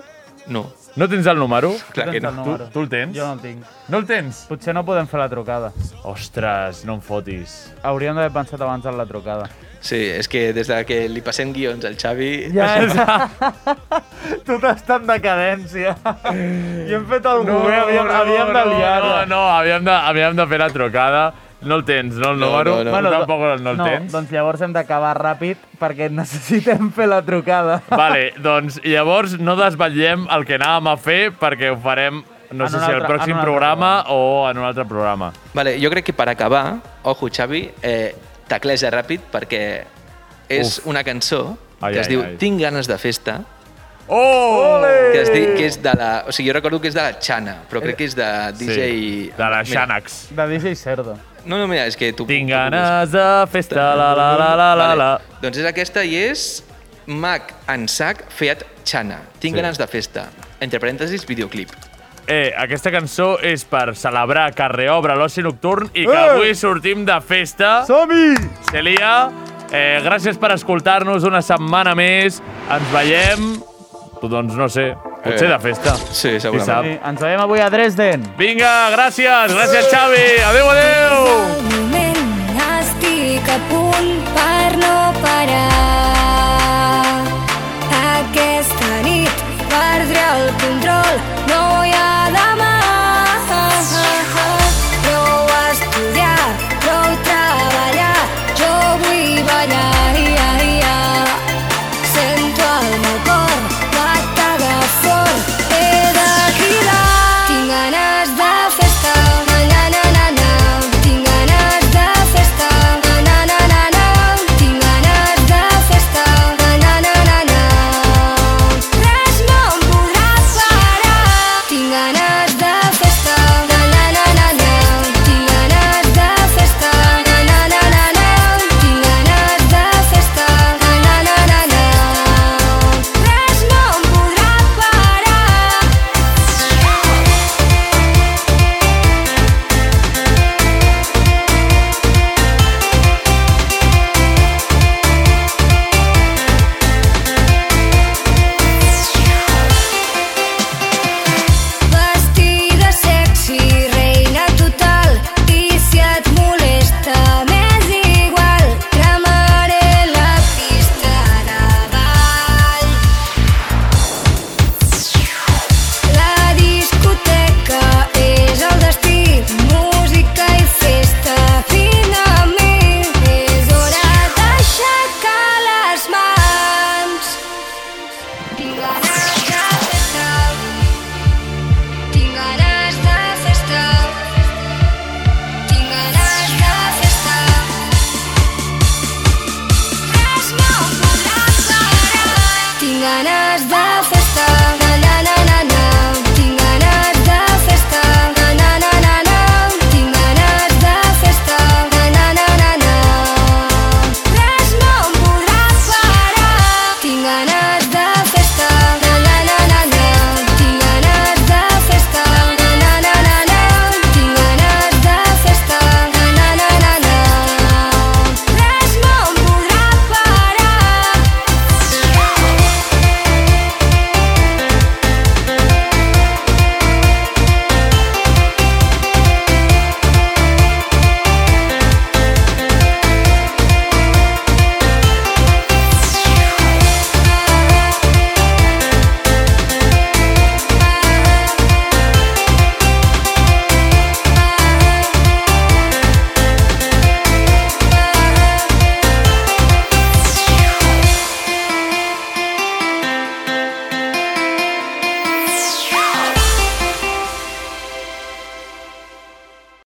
Speaker 7: No.
Speaker 2: No tens el número?
Speaker 7: Clar que
Speaker 2: Tu-
Speaker 7: no.
Speaker 2: Tu, tu Doncs el tens?
Speaker 6: Jo no el tinc.
Speaker 2: No el tens?
Speaker 6: Potser no podem fer la trucada.
Speaker 2: Ostres, no em fotis.
Speaker 6: Hauríem d'haver pensat abans en la trucada.
Speaker 7: Sí, és que des de que li passem guions al Xavi...
Speaker 6: Ja és... Eh? tu t'estàs en decadència. I hem fet el no, govern, havíem, havíem de liar
Speaker 2: No, no, havíem de, havíem de fer la trucada. No el tens, no el
Speaker 7: No,
Speaker 2: número?
Speaker 7: no, no.
Speaker 2: Tu tampoc no el
Speaker 6: no,
Speaker 2: tens?
Speaker 6: doncs llavors hem d'acabar ràpid perquè necessitem fer la trucada.
Speaker 2: Vale, doncs llavors no desvetllem el que anàvem a fer perquè ho farem, no
Speaker 6: En
Speaker 2: sé
Speaker 6: un
Speaker 2: si al
Speaker 6: altre- en
Speaker 2: pròxim
Speaker 6: un altre
Speaker 2: programa o en un altre programa.
Speaker 7: Vale, jo crec que per acabar, ojo Xavi, eh, tecleja ràpid perquè és
Speaker 2: Uf.
Speaker 7: Uf. una cançó
Speaker 2: Ai,
Speaker 7: ai, que es
Speaker 2: ai,
Speaker 7: ai, diu
Speaker 2: ai.
Speaker 7: ai. Tinc ganes de festa,
Speaker 2: Oh!
Speaker 7: que, es di, que és de la... O sigui, jo recordo que és de la Xana, però crec que és de DJ...
Speaker 2: Eh, Sí, de la Xanax.
Speaker 6: De DJ Cerdo.
Speaker 7: No, no, mira, és que tu...
Speaker 2: Tinc ganes de festa, la la la la la la.
Speaker 7: Vale. Doncs és aquesta i és Mac en sac Fiat Xana. Tinc
Speaker 2: Sí.
Speaker 7: sí. ganes de festa. Entre parèntesis, videoclip.
Speaker 2: Eh, aquesta cançó és per celebrar que reobre l'oci nocturn i que
Speaker 6: Eh!
Speaker 2: avui sortim de festa.
Speaker 6: Som-hi!
Speaker 2: Celia, eh, gràcies per escoltar-nos una setmana més. Ens veiem, doncs no sé, potser
Speaker 7: Eh,
Speaker 2: de festa.
Speaker 7: Sí, segurament.
Speaker 2: sap.
Speaker 6: Sí, ens veiem avui a Dresden.
Speaker 2: Vinga, gràcies, gràcies Xavi. Adéu, adéu.
Speaker 13: moment estic a punt per no parar. Aquesta nit perdré el control